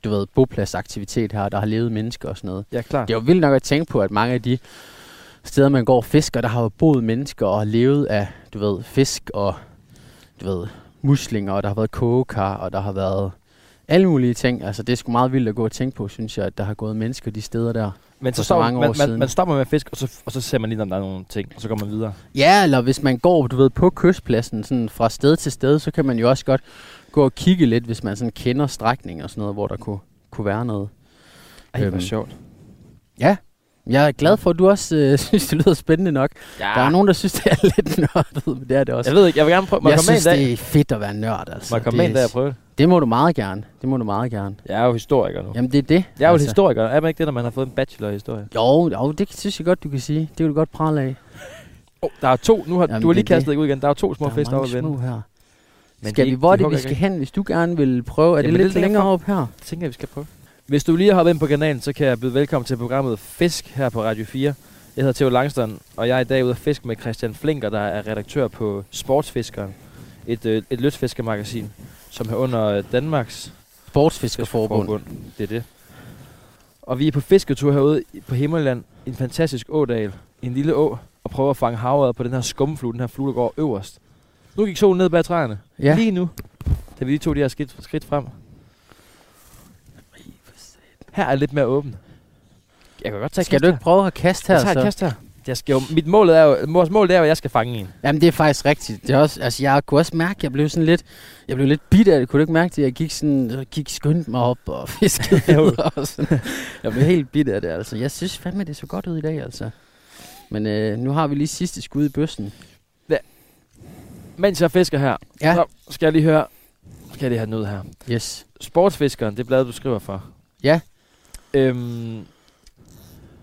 Speaker 3: du ved, bopladsaktivitet her, og der har levet mennesker og sådan noget.
Speaker 2: Ja, klar.
Speaker 3: Det er jo vildt nok at tænke på, at mange af de steder, man går og fisker, der har jo boet mennesker og har levet af, du ved, fisk og, du ved, muslinger, og der har været kogekar, og der har været alle mulige ting. Altså, det er sgu meget vildt at gå og tænke på, synes jeg, at der har gået mennesker de steder der.
Speaker 2: Men så,
Speaker 3: for så
Speaker 2: står,
Speaker 3: mange
Speaker 2: man,
Speaker 3: år
Speaker 2: man,
Speaker 3: siden.
Speaker 2: man, stopper med at fiske, og så, og så ser man lige, om der er nogle ting, og så går man videre.
Speaker 3: Ja, eller hvis man går, du ved, på kystpladsen, sådan fra sted til sted, så kan man jo også godt gå og kigge lidt, hvis man sådan kender strækning og sådan noget, hvor der kunne, kunne være noget.
Speaker 2: Ej, hvor
Speaker 3: Øhm,
Speaker 2: sjovt.
Speaker 3: Jeg er glad for, at du også øh, synes, det lyder spændende nok.
Speaker 2: Ja.
Speaker 3: Der er nogen, der synes, det er lidt nørdet, men det er det også.
Speaker 2: Jeg ved ikke, jeg vil gerne prøve. Må jeg,
Speaker 3: jeg
Speaker 2: komme
Speaker 3: synes,
Speaker 2: med en dag?
Speaker 3: det er fedt at være nørd, altså.
Speaker 2: Må jeg komme med
Speaker 3: det,
Speaker 2: en dag og prøve det?
Speaker 3: det må du meget gerne. Det må du meget gerne.
Speaker 2: Jeg er jo historiker nu.
Speaker 3: Jamen, det er det.
Speaker 2: Jeg er jo altså. historiker. Er man ikke det, når man har fået en bachelor i historie?
Speaker 3: Jo, jo, det synes jeg godt, du kan sige. Det kan du godt prale af.
Speaker 2: Oh, der er to. Nu har,
Speaker 3: Jamen,
Speaker 2: du har lige
Speaker 3: det er det.
Speaker 2: kastet dig ud igen. Der er to små
Speaker 3: der
Speaker 2: fisk
Speaker 3: er
Speaker 2: op
Speaker 3: mange
Speaker 2: at vende.
Speaker 3: små her.
Speaker 2: Men
Speaker 3: skal
Speaker 2: de-
Speaker 3: vi, hvor er
Speaker 2: de
Speaker 3: det, vi
Speaker 2: hugger
Speaker 3: skal
Speaker 2: ikke.
Speaker 3: hen, hvis du gerne vil prøve? Er det
Speaker 2: Jamen,
Speaker 3: lidt
Speaker 2: det er
Speaker 3: længere
Speaker 2: derfor.
Speaker 3: op her?
Speaker 2: Det tænker jeg, vi skal prøve. Hvis du lige har været ind på kanalen, så kan jeg byde velkommen til programmet Fisk her på Radio 4. Jeg hedder Theo Langstrøm, og jeg er i dag ude at fiske med Christian Flinker, der er redaktør på Sportsfiskeren. Et, øh, et lystfiskermagasin, som er under øh, Danmarks
Speaker 3: Sportsfiskerforbund.
Speaker 2: Det er det. Og vi er på fisketur herude i- på Himmerland, en fantastisk ådal, en lille å, og prøver at fange havret på den her skumflue, den her flue, der går øverst. Nu gik solen ned bag træerne.
Speaker 3: Ja.
Speaker 2: Lige nu, da vi lige tog de her skridt, skridt frem. Her er lidt mere åben. Jeg kan godt tage et
Speaker 3: Skal
Speaker 2: kast
Speaker 3: du ikke
Speaker 2: her.
Speaker 3: prøve at kaste her?
Speaker 2: Jeg tager et
Speaker 3: så?
Speaker 2: kast her. Jeg skal jo, mit mål er jo, vores mål det er jo, at jeg skal fange en.
Speaker 3: Jamen, det er faktisk rigtigt. Det er også, altså, jeg kunne også mærke, at jeg blev sådan lidt, jeg blev lidt bit af det. Kunne du ikke mærke det? Jeg gik sådan, jeg gik skyndt mig op og fiskede videre og sådan. Jeg blev helt bit af det, altså. Jeg synes fandme, det så godt ud i dag, altså. Men øh, nu har vi lige sidste skud i bøssen.
Speaker 2: Mens jeg fisker her,
Speaker 3: Ja.
Speaker 2: så skal jeg lige høre, skal jeg lige have den ud her.
Speaker 3: Yes.
Speaker 2: Sportsfiskeren, det blad, du skriver for.
Speaker 3: Ja.
Speaker 2: Øhm,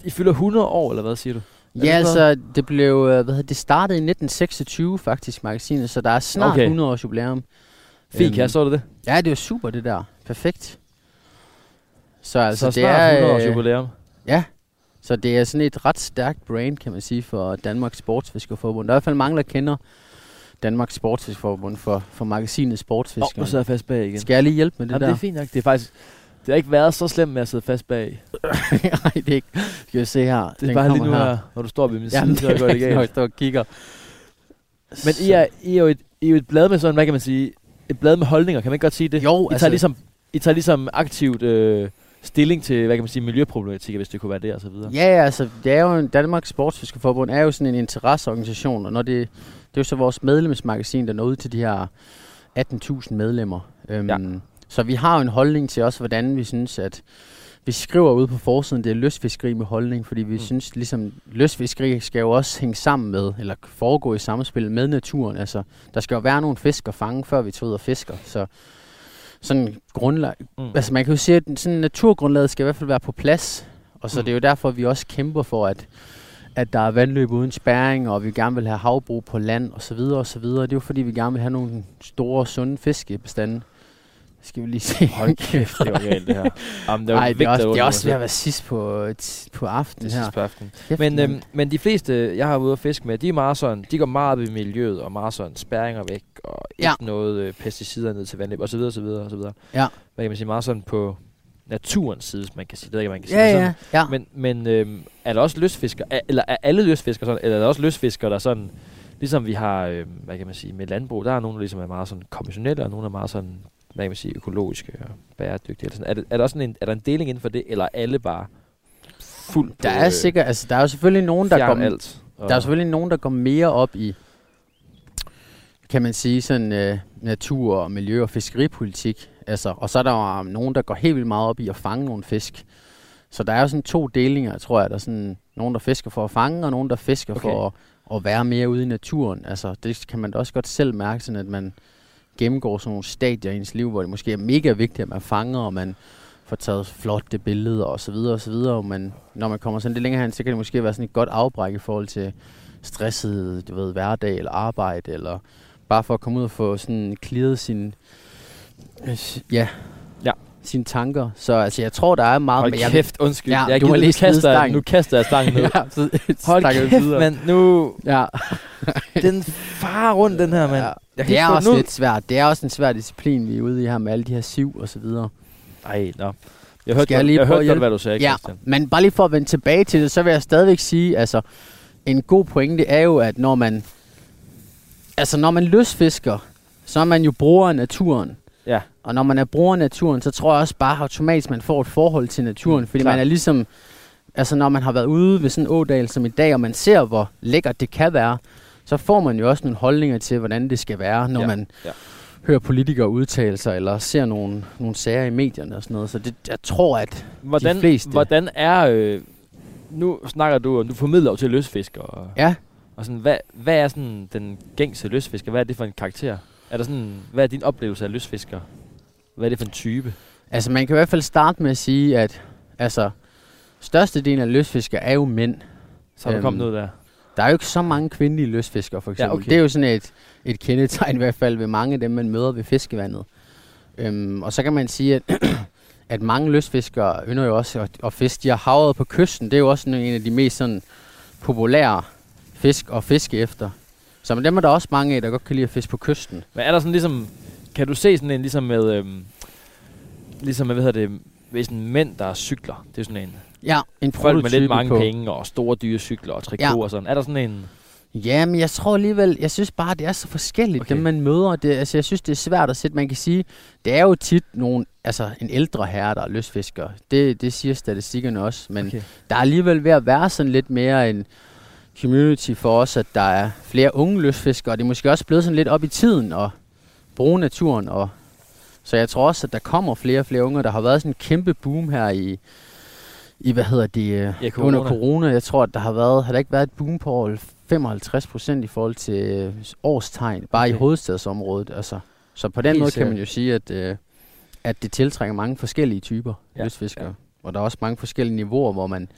Speaker 2: I fylder 100 år, eller hvad siger du? det
Speaker 3: Ja,
Speaker 2: sådan
Speaker 3: altså, det blev, øh, hvad hedder det, det startede i 1926 faktisk, magasinet, så der er snart
Speaker 2: Okay.
Speaker 3: 100 års jubilæum.
Speaker 2: Fint,
Speaker 3: Øhm,
Speaker 2: kan jeg så det det?
Speaker 3: Ja, det er jo super, det der. Perfekt. Så altså,
Speaker 2: så
Speaker 3: det
Speaker 2: snart
Speaker 3: er...
Speaker 2: 100 års
Speaker 3: øh,
Speaker 2: jubilæum.
Speaker 3: Ja, så det er sådan et ret stærkt brand, kan man sige, for Danmarks Sportsfiskerforbund. Der er i hvert fald mange, der kender Danmarks Sportsfiskerforbund for, for magasinet
Speaker 2: Åh, nu
Speaker 3: Sportsfiskeren.
Speaker 2: sidder jeg fast bag igen.
Speaker 3: Skal jeg lige hjælpe med det
Speaker 2: Jamen, det er
Speaker 3: der?
Speaker 2: fint nok. Det er faktisk... Det har ikke været så slemt med at sidde fast bag. Det
Speaker 3: Nej, det er ikke. Skal vi se her. Det
Speaker 2: er bare lige nu, her. når du står ved min side,
Speaker 3: Jamen,
Speaker 2: så
Speaker 3: det
Speaker 2: går
Speaker 3: er
Speaker 2: det
Speaker 3: ikke
Speaker 2: galt.
Speaker 3: noget, der kigger.
Speaker 2: Men I er, I, er jo et, I er jo et blad med sådan, hvad kan man sige, et blad med holdninger, kan man ikke godt sige det?
Speaker 3: Jo,
Speaker 2: I
Speaker 3: altså-
Speaker 2: tager ligesom, I tager ligesom aktivt øh, stilling til, hvad kan man sige, miljøproblematikker, hvis det kunne være det, og så videre.
Speaker 3: Ja, altså, det er jo, Danmarks Sportsfiskerforbund er jo sådan en interesseorganisation, og når det, det er jo så vores medlemsmagasin, der når ud til de her 18.000 medlemmer. Øhm,
Speaker 2: Ja.
Speaker 3: ja. Så vi har jo en holdning til også, hvordan vi synes, at vi skriver ude på forsiden, det er løsfiskeri med holdning, fordi vi
Speaker 2: Mm.
Speaker 3: mm. synes ligesom, løsfiskeri skal jo også hænge sammen med, eller foregå i samspil med naturen. Altså, der skal jo være nogle fisk at fange, før vi tager ud og fisker. Så sådan grundlag,
Speaker 2: Mm.
Speaker 3: Altså man kan jo sige, at den- sådan naturgrundlaget skal i hvert fald være på plads. Og så
Speaker 2: Mm.
Speaker 3: mm. det er jo derfor, vi også kæmper for, at, at der er vandløb uden spæring, og vi gerne vil have havbrug på land og så videre og så videre. Det er jo fordi, vi gerne vil have nogle store, sunde fiskebestande. Det Skal vi lige se.
Speaker 2: Hold kæft, det var galt det her. Jamen, det var
Speaker 3: Nej, det er også, det er også ved at
Speaker 2: svært.
Speaker 3: være sidst på, øh, t- på aftenen
Speaker 2: Det
Speaker 3: her.
Speaker 2: sidste på aftenen.
Speaker 3: Kæft,
Speaker 2: Men,
Speaker 3: mand.
Speaker 2: øhm, men de fleste, jeg har været ude at fiske med, de er meget sådan, de går meget op i miljøet, og meget sådan spærringer væk, og ikke
Speaker 3: Ja.
Speaker 2: noget øh, pesticider ned til vandløb, og så videre, og så videre, og så videre.
Speaker 3: Ja.
Speaker 2: Hvad kan man sige, meget sådan på naturens side, hvis man kan sige. Det ved jeg ikke, om man kan sige
Speaker 3: ja,
Speaker 2: det
Speaker 3: ja, ja.
Speaker 2: sådan. Men, men øhm, er der også lystfiskere, er, eller er alle lystfiskere sådan, eller er der også lystfiskere, der sådan, ligesom vi har, øhm, hvad kan man sige, med landbrug, der er nogen, der ligesom er meget sådan konventionelle, og nogen er meget sådan, hvad kan man sige, økologiske og bæredygtige. Eller sådan. Er, det, er, der sådan en, er der en deling inden for det, eller er alle bare fuld
Speaker 3: Der
Speaker 2: på, øh,
Speaker 3: er sikkert, altså der er jo selvfølgelig nogen, der går,
Speaker 2: alt. Og
Speaker 3: Der er selvfølgelig nogen, der går mere op i kan man sige, sådan øh, natur og miljø og fiskeripolitik. Altså, og så er der jo nogen, der går helt vildt meget op i at fange nogle fisk. Så der er jo sådan to delinger, tror jeg. Der er sådan nogen, der fisker for at fange, og nogen, der fisker okay. for at, at være mere ude i naturen. Altså, det kan man da også godt selv mærke, sådan at man gennemgår sådan nogle stadier i ens liv, hvor det måske er mega vigtigt, at man fanger, og man får taget flotte billeder og så videre og så videre. Men når man kommer sådan lidt længere hen, så kan det måske være sådan et godt afbræk i forhold til stresset, du ved, hverdag eller arbejde, eller bare for at komme ud og få sådan clearet sin, ja,
Speaker 2: Ja.
Speaker 3: sine tanker. Så altså, jeg tror, der er meget... men
Speaker 2: Hold
Speaker 3: jeg-
Speaker 2: kæft, undskyld.
Speaker 3: Ja,
Speaker 2: Ja, jeg
Speaker 3: du må
Speaker 2: gider, nu,
Speaker 3: lige smide
Speaker 2: kaster, jeg-
Speaker 3: stangen.
Speaker 2: nu kaster jeg stangen ned.
Speaker 3: ja, så
Speaker 2: Hold
Speaker 3: snakker vi
Speaker 2: kæft,
Speaker 3: videre.
Speaker 2: mand. Nu
Speaker 3: Ja,
Speaker 2: den farer rundt, den her, mand.
Speaker 3: ja.
Speaker 2: Jeg kan
Speaker 3: Det
Speaker 2: ikke
Speaker 3: er
Speaker 2: få den
Speaker 3: også
Speaker 2: ud.
Speaker 3: lidt svært. Det er også en svær disciplin, vi er ude i her med alle de her siv og så videre.
Speaker 2: Ej, nå. Jeg hørte,
Speaker 3: Skal jeg
Speaker 2: godt,
Speaker 3: lige
Speaker 2: jeg
Speaker 3: prøve at
Speaker 2: hørte godt,
Speaker 3: hjælpe?
Speaker 2: hvad du sagde,
Speaker 3: Ja,
Speaker 2: Christian.
Speaker 3: men bare lige for at vende tilbage til det, så vil jeg stadigvæk sige, altså, en god pointe er jo, at når man, altså når man løsfisker, så er man jo bruger af naturen.
Speaker 2: Ja.
Speaker 3: Og når man er bruger af naturen, så tror jeg også bare automatisk, man får et forhold til naturen,
Speaker 2: Mm,
Speaker 3: fordi
Speaker 2: klart.
Speaker 3: man er ligesom, altså når man har været ude ved sådan en ådal som i dag, og man ser, hvor lækkert det kan være, så får man jo også nogle holdninger til, hvordan det skal være, når
Speaker 2: Ja,
Speaker 3: ja. man
Speaker 2: ja.
Speaker 3: hører politikere udtale sig, eller ser nogle, nogle sager i medierne og sådan noget. Så det, jeg tror, at
Speaker 2: Hvordan,
Speaker 3: fleste.
Speaker 2: hvordan er... Øh, nu snakker du om, du formidler jo til løsfiskere. Og,
Speaker 3: Ja.
Speaker 2: og sådan, hvad, hvad er sådan den gængse løsfisker? Hvad er det for en karakter? Er der sådan, hvad er din oplevelse af løsfisker? Hvad er det for en type?
Speaker 3: Altså, man kan i hvert fald starte med at sige, at altså, størstedelen af løsfiskere er jo mænd.
Speaker 2: Så er der
Speaker 3: Øhm,
Speaker 2: kommet noget der.
Speaker 3: Der er jo ikke så mange kvindelige løsfiskere, for
Speaker 2: Ja,
Speaker 3: eksempel.
Speaker 2: okay.
Speaker 3: Det er jo sådan et, et kendetegn i hvert fald ved mange af dem, man møder ved fiskevandet. Øhm, og så kan man sige, at, at mange løsfiskere ynder jo også at, at fiske. De har havet på kysten. Det er jo også sådan en af de mest sådan, populære fisk at fiske efter. Så men dem er der også mange af, der godt kan lide at fiske på kysten.
Speaker 2: Men er der sådan ligesom... Kan du se sådan en ligesom med... Øhm, ligesom, med, hvad hedder det... Hvis en mænd, der cykler, det er sådan en...
Speaker 3: Ja, en
Speaker 2: Folk med lidt
Speaker 3: prototype
Speaker 2: mange
Speaker 3: på.
Speaker 2: penge og store dyre cykler og trikot
Speaker 3: Ja.
Speaker 2: og sådan. Er der sådan en...
Speaker 3: Ja, men jeg tror alligevel, jeg synes bare, det er så forskelligt,
Speaker 2: Okay.
Speaker 3: okay. dem man møder. Det, altså, jeg synes, det er svært at sætte. Man kan sige, det er jo tit nogen, altså en ældre herre, der er lystfisker. Det, det siger statistikkerne også. Men okay.
Speaker 2: Okay.
Speaker 3: der er alligevel ved at være sådan lidt mere en community for os, at der er flere unge lystfiskere. Og det er måske også blevet sådan lidt op i tiden at bruge naturen. Og så jeg tror også, at der kommer flere og flere unge. og Der har været sådan en kæmpe boom her i, i hvad hedder det, øh,
Speaker 2: Ja, corona.
Speaker 3: under corona. Jeg tror, at der har været, har der ikke været et boom på over 55 procent i forhold til øh, årstegn, bare okay. i
Speaker 2: Okay.
Speaker 3: hovedstadsområdet. Altså. Så på den
Speaker 2: Helt
Speaker 3: måde
Speaker 2: sikkert.
Speaker 3: kan man jo sige, at, øh, at det tiltrækker mange forskellige typer
Speaker 2: Ja,
Speaker 3: ja. lystfiskere. Ja. Og der er også mange forskellige niveauer, hvor man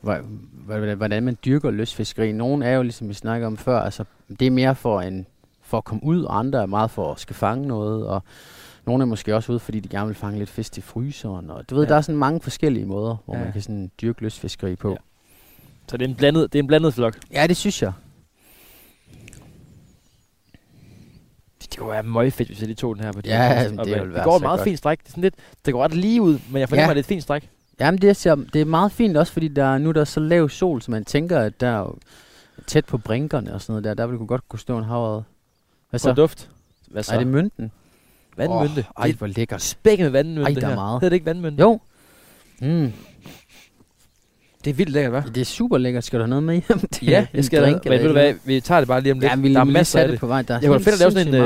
Speaker 3: hvor- hvor- hvordan man dyrker lystfiskeri. Nogle er jo, ligesom vi snakker om før, altså, det er mere for, en, for at komme ud, og andre er meget for at skal fange noget, og nogle er måske også ude, fordi de gerne vil fange lidt fisk til fryseren. Og du ved,
Speaker 2: Ja.
Speaker 3: ja. der er sådan mange forskellige måder, hvor
Speaker 2: Ja.
Speaker 3: ja. man kan sådan dyrke lystfiskeri på.
Speaker 2: Ja. Så det er en blandet, det er en blandet flok.
Speaker 3: Ja, ja det synes jeg.
Speaker 2: Det, det kunne være meget fedt, hvis jeg lige tog den her på de
Speaker 3: Ja,
Speaker 2: her
Speaker 3: jamen,
Speaker 2: kast
Speaker 3: det
Speaker 2: opad.
Speaker 3: ville
Speaker 2: det
Speaker 3: være
Speaker 2: går et
Speaker 3: så
Speaker 2: meget
Speaker 3: godt.
Speaker 2: fint stræk. Det er sådan lidt, det går ret lige ud, men jeg fornemmer,
Speaker 3: Ja.
Speaker 2: at det er et fint stræk.
Speaker 3: Jamen, det er, så- det er meget fint også, fordi der, nu er der så lav sol, så man tænker, at der er jo tæt på brinkerne og sådan noget der, der ville kunne godt kunne stå en havred. Hvad
Speaker 2: Så.
Speaker 3: så?
Speaker 2: Og duft. Hvad så?
Speaker 3: Er det mynten?
Speaker 2: vandmynte?
Speaker 3: Åh, ej,
Speaker 2: det
Speaker 3: hvor
Speaker 2: er
Speaker 3: lækkert.
Speaker 2: spækket med vandmynte
Speaker 3: Ej,
Speaker 2: det
Speaker 3: der er
Speaker 2: her.
Speaker 3: meget.
Speaker 2: Hedder det ikke vandmynte?
Speaker 3: Jo. Mm.
Speaker 2: Det er vildt lækkert, hva'?
Speaker 3: Det er super lækkert. Skal du have noget med hjem til
Speaker 2: Ja,
Speaker 3: en
Speaker 2: jeg skal
Speaker 3: drink
Speaker 2: da. Men ved du hvad, vi tager det bare lige om lidt.
Speaker 3: Ja, vi,
Speaker 2: der er masser af
Speaker 3: det
Speaker 2: det.
Speaker 3: på vej. Der er
Speaker 2: Jeg kunne
Speaker 3: helt
Speaker 2: fedt at lave sådan en
Speaker 3: sindssygt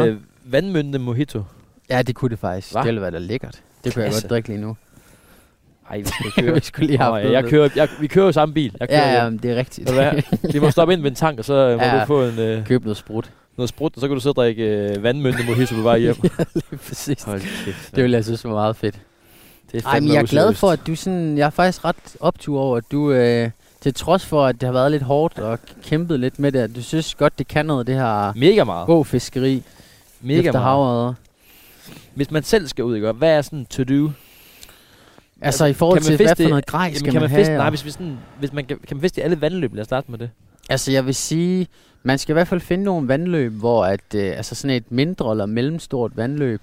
Speaker 2: øh,
Speaker 3: meget.
Speaker 2: vandmynte mojito.
Speaker 3: Ja, det kunne det faktisk.
Speaker 2: Hva?
Speaker 3: Det ville være da lækkert. Det kunne jeg
Speaker 2: Klasse.
Speaker 3: godt drikke lige nu.
Speaker 2: Ej, vi skal
Speaker 3: vi
Speaker 2: køre.
Speaker 3: skulle lige have
Speaker 2: Nå, ja, jeg kører, jeg, vi kører jo samme bil. Jeg kører,
Speaker 3: Ja,
Speaker 2: ja,
Speaker 3: ja, men det er rigtigt.
Speaker 2: Vi må stoppe ind ved en tank, og så øh, må
Speaker 3: Ja.
Speaker 2: du få en, øh,
Speaker 3: Køb noget sprut.
Speaker 2: noget sprut, og så kan du sidde og drikke øh, vandmynte mojito på vej hjem.
Speaker 3: Præcis.
Speaker 2: Hold kæft.
Speaker 3: Det ville jeg synes var meget fedt.
Speaker 2: det er
Speaker 3: Ej, men
Speaker 2: fandme
Speaker 3: jeg er glad
Speaker 2: useriøst.
Speaker 3: for, at du sådan... Jeg er faktisk ret optur over, at du... Øh, til trods for, at det har været lidt hårdt og kæmpet lidt med det, at du synes godt, det kan noget, det her
Speaker 2: Mega meget.
Speaker 3: god fiskeri
Speaker 2: Mega
Speaker 3: efter
Speaker 2: meget. Altså,
Speaker 3: havredder.
Speaker 2: Hvis man selv skal ud, ikke? Og hvad er sådan to do?
Speaker 3: Altså i
Speaker 2: Kan
Speaker 3: forhold
Speaker 2: man
Speaker 3: til,
Speaker 2: fiske
Speaker 3: hvad for
Speaker 2: det-
Speaker 3: noget grej skal
Speaker 2: Jamen, kan man,
Speaker 3: have?
Speaker 2: fiske, nej,
Speaker 3: og-
Speaker 2: hvis, vi sådan, hvis man kan, kan man fiske det i alle vandløb, lad os starte med det.
Speaker 3: Altså jeg vil sige, man skal i hvert fald finde nogle vandløb, hvor at, øh, altså sådan et mindre eller mellemstort vandløb,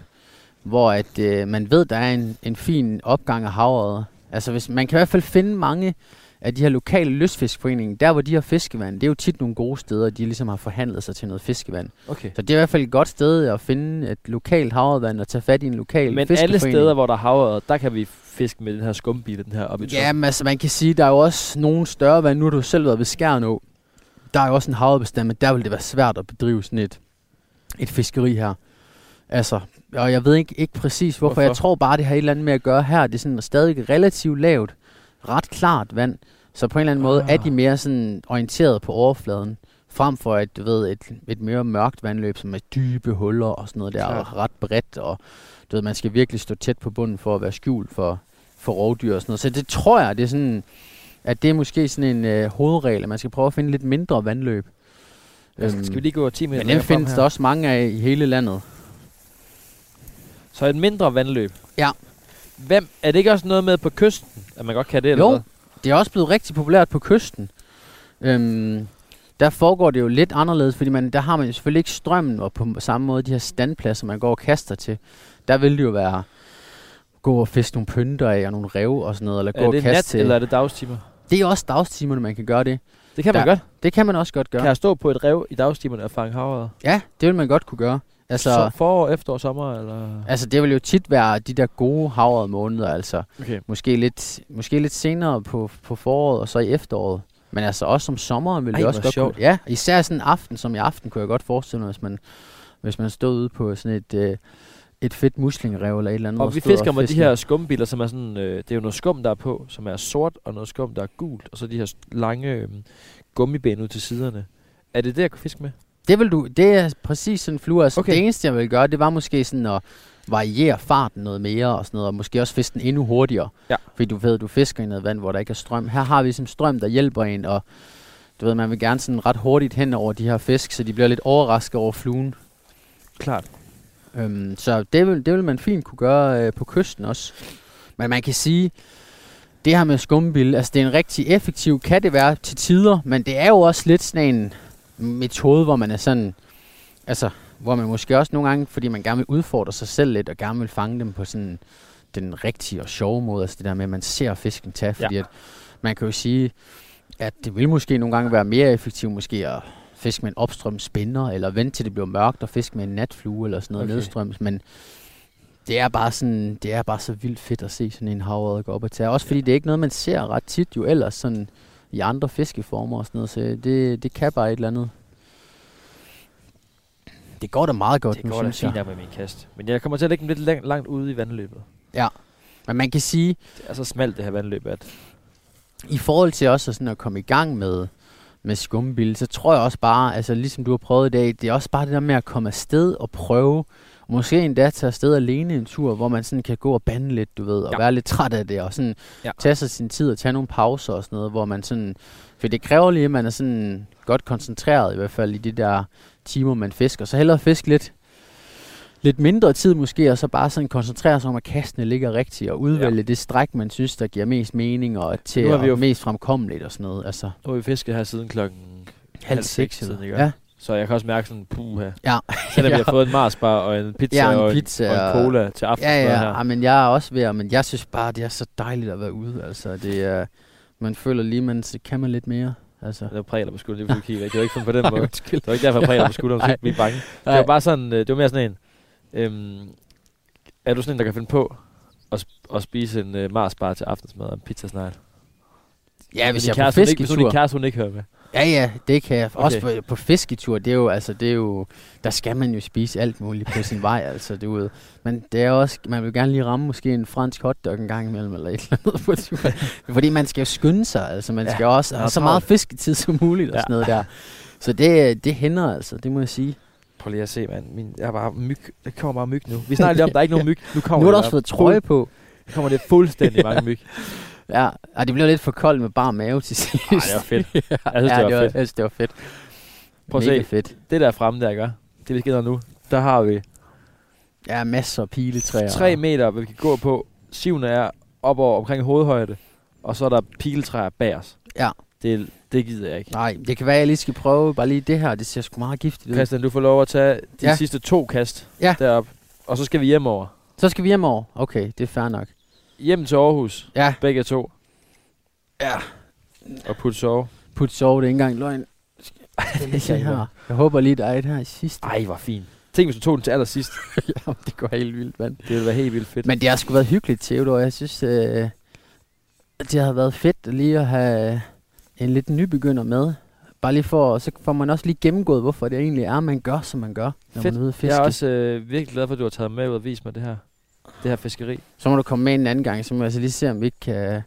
Speaker 3: hvor at øh, man ved, der er en, en fin opgang af havret. Altså hvis, man kan i hvert fald finde mange af de her lokale lystfiskforeninger, der hvor de har fiskevand, det er jo tit nogle gode steder, de ligesom har forhandlet sig til noget fiskevand.
Speaker 2: Okay.
Speaker 3: Så det er i hvert fald et godt sted at finde et lokalt havredvand og tage fat i en lokal
Speaker 2: Men alle
Speaker 3: fiskeforening.
Speaker 2: steder, hvor der er havret, der kan vi fiske med den her skumbile, den her op i toppen.
Speaker 3: Jamen altså, man kan sige, der er jo også nogle større vand. Nu har du selv været ved Skjernå. Der er jo også en havrebestand, men der vil det være svært at bedrive sådan et et fiskeri her. Altså, og jeg ved ikke, ikke præcis hvorfor. hvorfor. Jeg
Speaker 2: Hvorfor?
Speaker 3: tror bare, det har et eller andet med at gøre her. Det er sådan stadig relativt lavt, ret klart vand. Så på en eller anden måde er de
Speaker 2: Ah.
Speaker 3: mere sådan orienteret på overfladen, frem for et, du ved, et, et mere mørkt vandløb, som er dybe huller og sådan noget der,
Speaker 2: Klart.
Speaker 3: og ret bredt, og du ved, man skal virkelig stå tæt på bunden for at være skjult for, for rovdyr og sådan noget. Så det tror jeg, det er sådan, at det er måske sådan en øh, hovedregel, at man skal prøve at finde lidt mindre vandløb.
Speaker 2: Altså, skal vi lige gå 10 meter
Speaker 3: Øhm, men
Speaker 2: længere
Speaker 3: dem
Speaker 2: frem
Speaker 3: findes
Speaker 2: her?
Speaker 3: der også mange af i hele landet.
Speaker 2: Så et mindre vandløb.
Speaker 3: Ja.
Speaker 2: Hvem, er det ikke også noget med på kysten, at man godt kan det? Eller
Speaker 3: Jo,
Speaker 2: hvad?
Speaker 3: det er også blevet rigtig populært på kysten. Øhm, der foregår det jo lidt anderledes, fordi man, der har man jo selvfølgelig ikke strømmen, og på m- samme måde de her standpladser, man går og kaster til. Der vil det jo være gå og fiske nogle pynter af, og nogle rev og sådan noget, eller gå
Speaker 2: Er
Speaker 3: og
Speaker 2: det
Speaker 3: kaste
Speaker 2: nat,
Speaker 3: til.
Speaker 2: eller er det dagstimer?
Speaker 3: Det er også dagstimerne, man kan gøre det.
Speaker 2: Det kan man
Speaker 3: Der-
Speaker 2: godt.
Speaker 3: Det kan man også godt gøre.
Speaker 2: Kan jeg stå på et rev i dagstimerne og fange havret?
Speaker 3: Ja, det vil man godt kunne gøre. Altså,
Speaker 2: Så forår, efterår, sommer, eller...
Speaker 3: altså det vil jo tit være de der gode havrede måneder, altså.
Speaker 2: Okay.
Speaker 3: Måske lidt, måske lidt senere på, på foråret og så i efteråret. Men altså også om sommeren ville
Speaker 2: Ej,
Speaker 3: det også
Speaker 2: hvor
Speaker 3: godt
Speaker 2: sjovt.
Speaker 3: Kunne, ja, især sådan en aften som i aften kunne jeg godt forestille mig, hvis man, hvis man stod ude på sådan et, øh, et fedt muslingerev eller et eller andet. hvor
Speaker 2: Og vi
Speaker 3: stod
Speaker 2: fisker med de
Speaker 3: fiskede.
Speaker 2: her skumbiler, som er sådan... Øh, det er jo noget skum, der er på, som er sort, og noget skum, der er gult. Og så de her s- lange øh, gummibænd ud til siderne. Er det det, jeg kan fiske med?
Speaker 3: Det, vil du, det er præcis sådan en flue. Altså okay.
Speaker 2: Okay.
Speaker 3: Det eneste, jeg ville gøre, det var måske sådan at variere farten noget mere og sådan noget, og måske også fiske den endnu hurtigere.
Speaker 2: Ja.
Speaker 3: Fordi du ved, du fisker i noget vand, hvor der ikke er strøm. Her har vi sådan strøm, der hjælper en, og du ved, man vil gerne sådan ret hurtigt hen over de her fisk, så de bliver lidt overrasket over fluen.
Speaker 2: Klart.
Speaker 3: Øhm, så det vil, det vil man fint kunne gøre øh, på kysten også. Men man kan sige, det her med skumbil, altså det er en rigtig effektiv, kan det være til tider, men det er jo også lidt sådan en metode, hvor man er sådan, altså hvor man måske også nogle gange, fordi man gerne vil udfordre sig selv lidt, og gerne vil fange dem på sådan den rigtige og sjove måde, altså det der med, at man ser fisken tage, fordi ja. at man kan jo sige, at det vil måske nogle gange være mere effektivt måske at fiske med en opstrøms spinder, eller vente til det bliver mørkt og fiske med en natflue, eller sådan noget okay.
Speaker 2: Okay.
Speaker 3: nedstrøms, men det er bare sådan, det er bare så vildt fedt at se sådan en havørred gå op og tage. Også fordi det er ikke noget, man ser ret tit jo ellers, sådan i andre fiskeformer og sådan noget, så det, det kan bare et eller andet. Det går da meget godt,
Speaker 2: det
Speaker 3: nu,
Speaker 2: går da
Speaker 3: synes
Speaker 2: fint
Speaker 3: jeg.
Speaker 2: af med min kast. Men jeg kommer til at lægge dem lidt lang, langt ude i vandløbet.
Speaker 3: Men man kan sige,
Speaker 2: Det er så smalt, det her vandløb, at...
Speaker 3: i forhold til også sådan at komme i gang med, med skumbil, så tror jeg også bare, altså ligesom du har prøvet i dag, det er også bare det der med at komme afsted og prøve. Måske endda tage afsted alene en tur, hvor man sådan kan gå og bande lidt, du ved, og ja.
Speaker 2: Ja.
Speaker 3: være lidt træt af det, og sådan ja.
Speaker 2: Ja.
Speaker 3: tage sig sin tid og tage nogle pauser og sådan noget, hvor man sådan, for det kræver lige, at man er sådan godt koncentreret i hvert fald i de der timer, man fisker. Så hellere fisk lidt, lidt mindre tid måske, og så bare sådan koncentrere sig om, at kastene ligger rigtigt, og udvælge ja. det stræk, man synes, der giver mest mening, og til
Speaker 2: Nu har
Speaker 3: og
Speaker 2: vi jo-
Speaker 3: mest fremkommeligt og sådan noget. Altså,
Speaker 2: Nu har vi fisket her siden klokken
Speaker 3: halv seks.
Speaker 2: tiden,
Speaker 3: eller-
Speaker 2: ikke?
Speaker 3: Ja,
Speaker 2: Så jeg kan også mærke sådan, puha.
Speaker 3: Ja.
Speaker 2: Selvom
Speaker 3: Ja.
Speaker 2: jeg har fået en marsbar og en pizza,
Speaker 3: Ja, en
Speaker 2: og,
Speaker 3: pizza
Speaker 2: en, og en
Speaker 3: og-
Speaker 2: cola til aftensmad
Speaker 3: ja, ja, ja
Speaker 2: her.
Speaker 3: men jeg er også ved, at- men jeg synes bare, det er så dejligt at være ude. Altså, det er, man føler lige, man så kan man lidt mere. Altså.
Speaker 2: Det var præler på skulderen, det var kigge væk. Det var ikke sådan på den
Speaker 3: Ej,
Speaker 2: måde.
Speaker 3: undskyld.
Speaker 2: Det var ikke derfor, jeg præler på skulderen, så jeg ikke blive bange. Det
Speaker 3: Nej.
Speaker 2: var bare sådan, øh, det var mere sådan en, øhm, er du sådan en, der kan finde på at, sp- at spise en øh, marsbar til aftensmad og en pizza snart?
Speaker 3: Ja, hvis
Speaker 2: din
Speaker 3: jeg er på
Speaker 2: kæreste, hun ikke, hvis hun
Speaker 3: fisketur.
Speaker 2: din kæreste, hun ikke hører med.
Speaker 3: Ja, ja, det kan jeg. Også
Speaker 2: Okay.
Speaker 3: på, på fisketur, det er jo, altså, det er jo, der skal man jo spise alt muligt på sin vej, altså, du ved. Men det er også, man vil gerne lige ramme måske en fransk hotdog en gang imellem, eller et eller andet på turen. Fordi man skal jo skynde sig, altså, man
Speaker 2: Ja,
Speaker 3: skal også
Speaker 2: der
Speaker 3: have
Speaker 2: er
Speaker 3: så meget
Speaker 2: travlt.
Speaker 3: fisketid som muligt, og
Speaker 2: Ja.
Speaker 3: sådan noget der. Så det, det hænder altså, det må jeg sige.
Speaker 2: Prøv lige at se, mand. Min, jeg er bare myg. Der kommer bare myg nu. Vi snakker lige om, der er ikke nogen myg. Nu kommer
Speaker 3: Nu har du
Speaker 2: der
Speaker 3: også fået
Speaker 2: fuld-
Speaker 3: trøje på.
Speaker 2: Nu kommer det fuldstændig mange myg. Ej,
Speaker 3: Ja, Ej, det blev lidt for koldt med bare mave til sidst. Ej,
Speaker 2: det var fedt. Jeg synes,
Speaker 3: ja,
Speaker 2: det var fedt.
Speaker 3: Jeg synes, det var fedt.
Speaker 2: Prøv at
Speaker 3: Mega
Speaker 2: se.
Speaker 3: fedt.
Speaker 2: Det der fremme der, gør. Det vi skinner nu. Der har vi
Speaker 3: Ja, masser af piletræer.
Speaker 2: 3 meter, hvor vi kan gå på. Sivende er op over omkring hovedhøjde. Og så er der piletræer bag os.
Speaker 3: Ja.
Speaker 2: Det, det gider jeg ikke.
Speaker 3: Nej, det kan være, jeg lige skal prøve bare lige det her. Det ser sgu meget giftigt ud.
Speaker 2: Christian, du får lov at tage de
Speaker 3: Ja.
Speaker 2: ja. sidste to kast
Speaker 3: Ja.
Speaker 2: derop. Og så skal vi hjem over.
Speaker 3: Så skal vi hjem over. Okay, det er fair nok.
Speaker 2: Hjem til Aarhus.
Speaker 3: Ja,
Speaker 2: Begge to.
Speaker 3: Ja.
Speaker 2: Og putte sove.
Speaker 3: put sove, det er ikke engang løgn. Skal jeg lige se
Speaker 2: Ja, ja.
Speaker 3: her. Jeg håber lige, der er et her i sidste.
Speaker 2: Ej, hvor fint. Tænk, hvis du tog den til allersidst.
Speaker 3: Jamen, det går helt vildt, mand.
Speaker 2: Det ville være helt vildt fedt.
Speaker 3: Men det har sgu været hyggeligt, Theodor. Jeg synes, øh, det har været fedt lige at have en lidt nybegynder med Bare lige for, så får man også lige gennemgået, hvorfor det egentlig er, man gør, som man gør, når
Speaker 2: Fedt.
Speaker 3: man er ude at fiske.
Speaker 2: Jeg er også øh, virkelig glad for, at du har taget med ud og vist mig det her, det her fiskeri.
Speaker 3: Så må du komme med en anden gang, så må jeg altså lige se, om vi ikke kan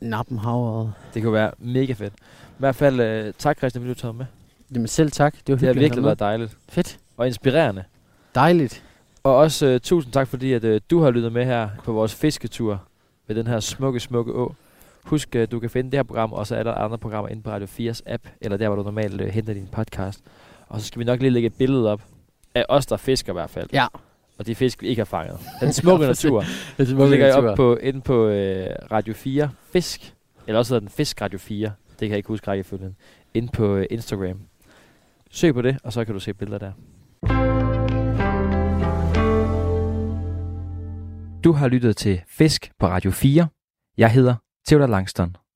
Speaker 3: nappe havret.
Speaker 2: Det kunne være mega fedt. I hvert fald øh, tak, Christian, fordi du har taget med.
Speaker 3: Jamen selv tak, det var
Speaker 2: Det har
Speaker 3: hyggeligt. at
Speaker 2: virkelig
Speaker 3: være med.
Speaker 2: været dejligt
Speaker 3: Fedt.
Speaker 2: og inspirerende.
Speaker 3: Dejligt.
Speaker 2: Og også øh, tusind tak, fordi at, øh, du har lyttet med her på vores fisketur ved den her smukke, smukke å. Husk, øh, du kan finde det her program, og så er der andre programmer inde på Radio 4's app, eller der, hvor du normalt øh, henter din podcast. Og så skal vi nok lige lægge et billede op af os, der fisker i hvert fald.
Speaker 3: Ja.
Speaker 2: Og de fisk, vi ikke har fanget. Den smukke natur.
Speaker 3: Det
Speaker 2: Nu ligger jeg op på, inde på øh, Radio 4 Fisk, eller også hedder den Fisk Radio 4, det kan jeg ikke huske rækkefølgen, inde på øh, Instagram. Søg på det, og så kan du se billeder der.
Speaker 1: Du har lyttet til Fisk på Radio 4. Jeg hedder Theodor Langston.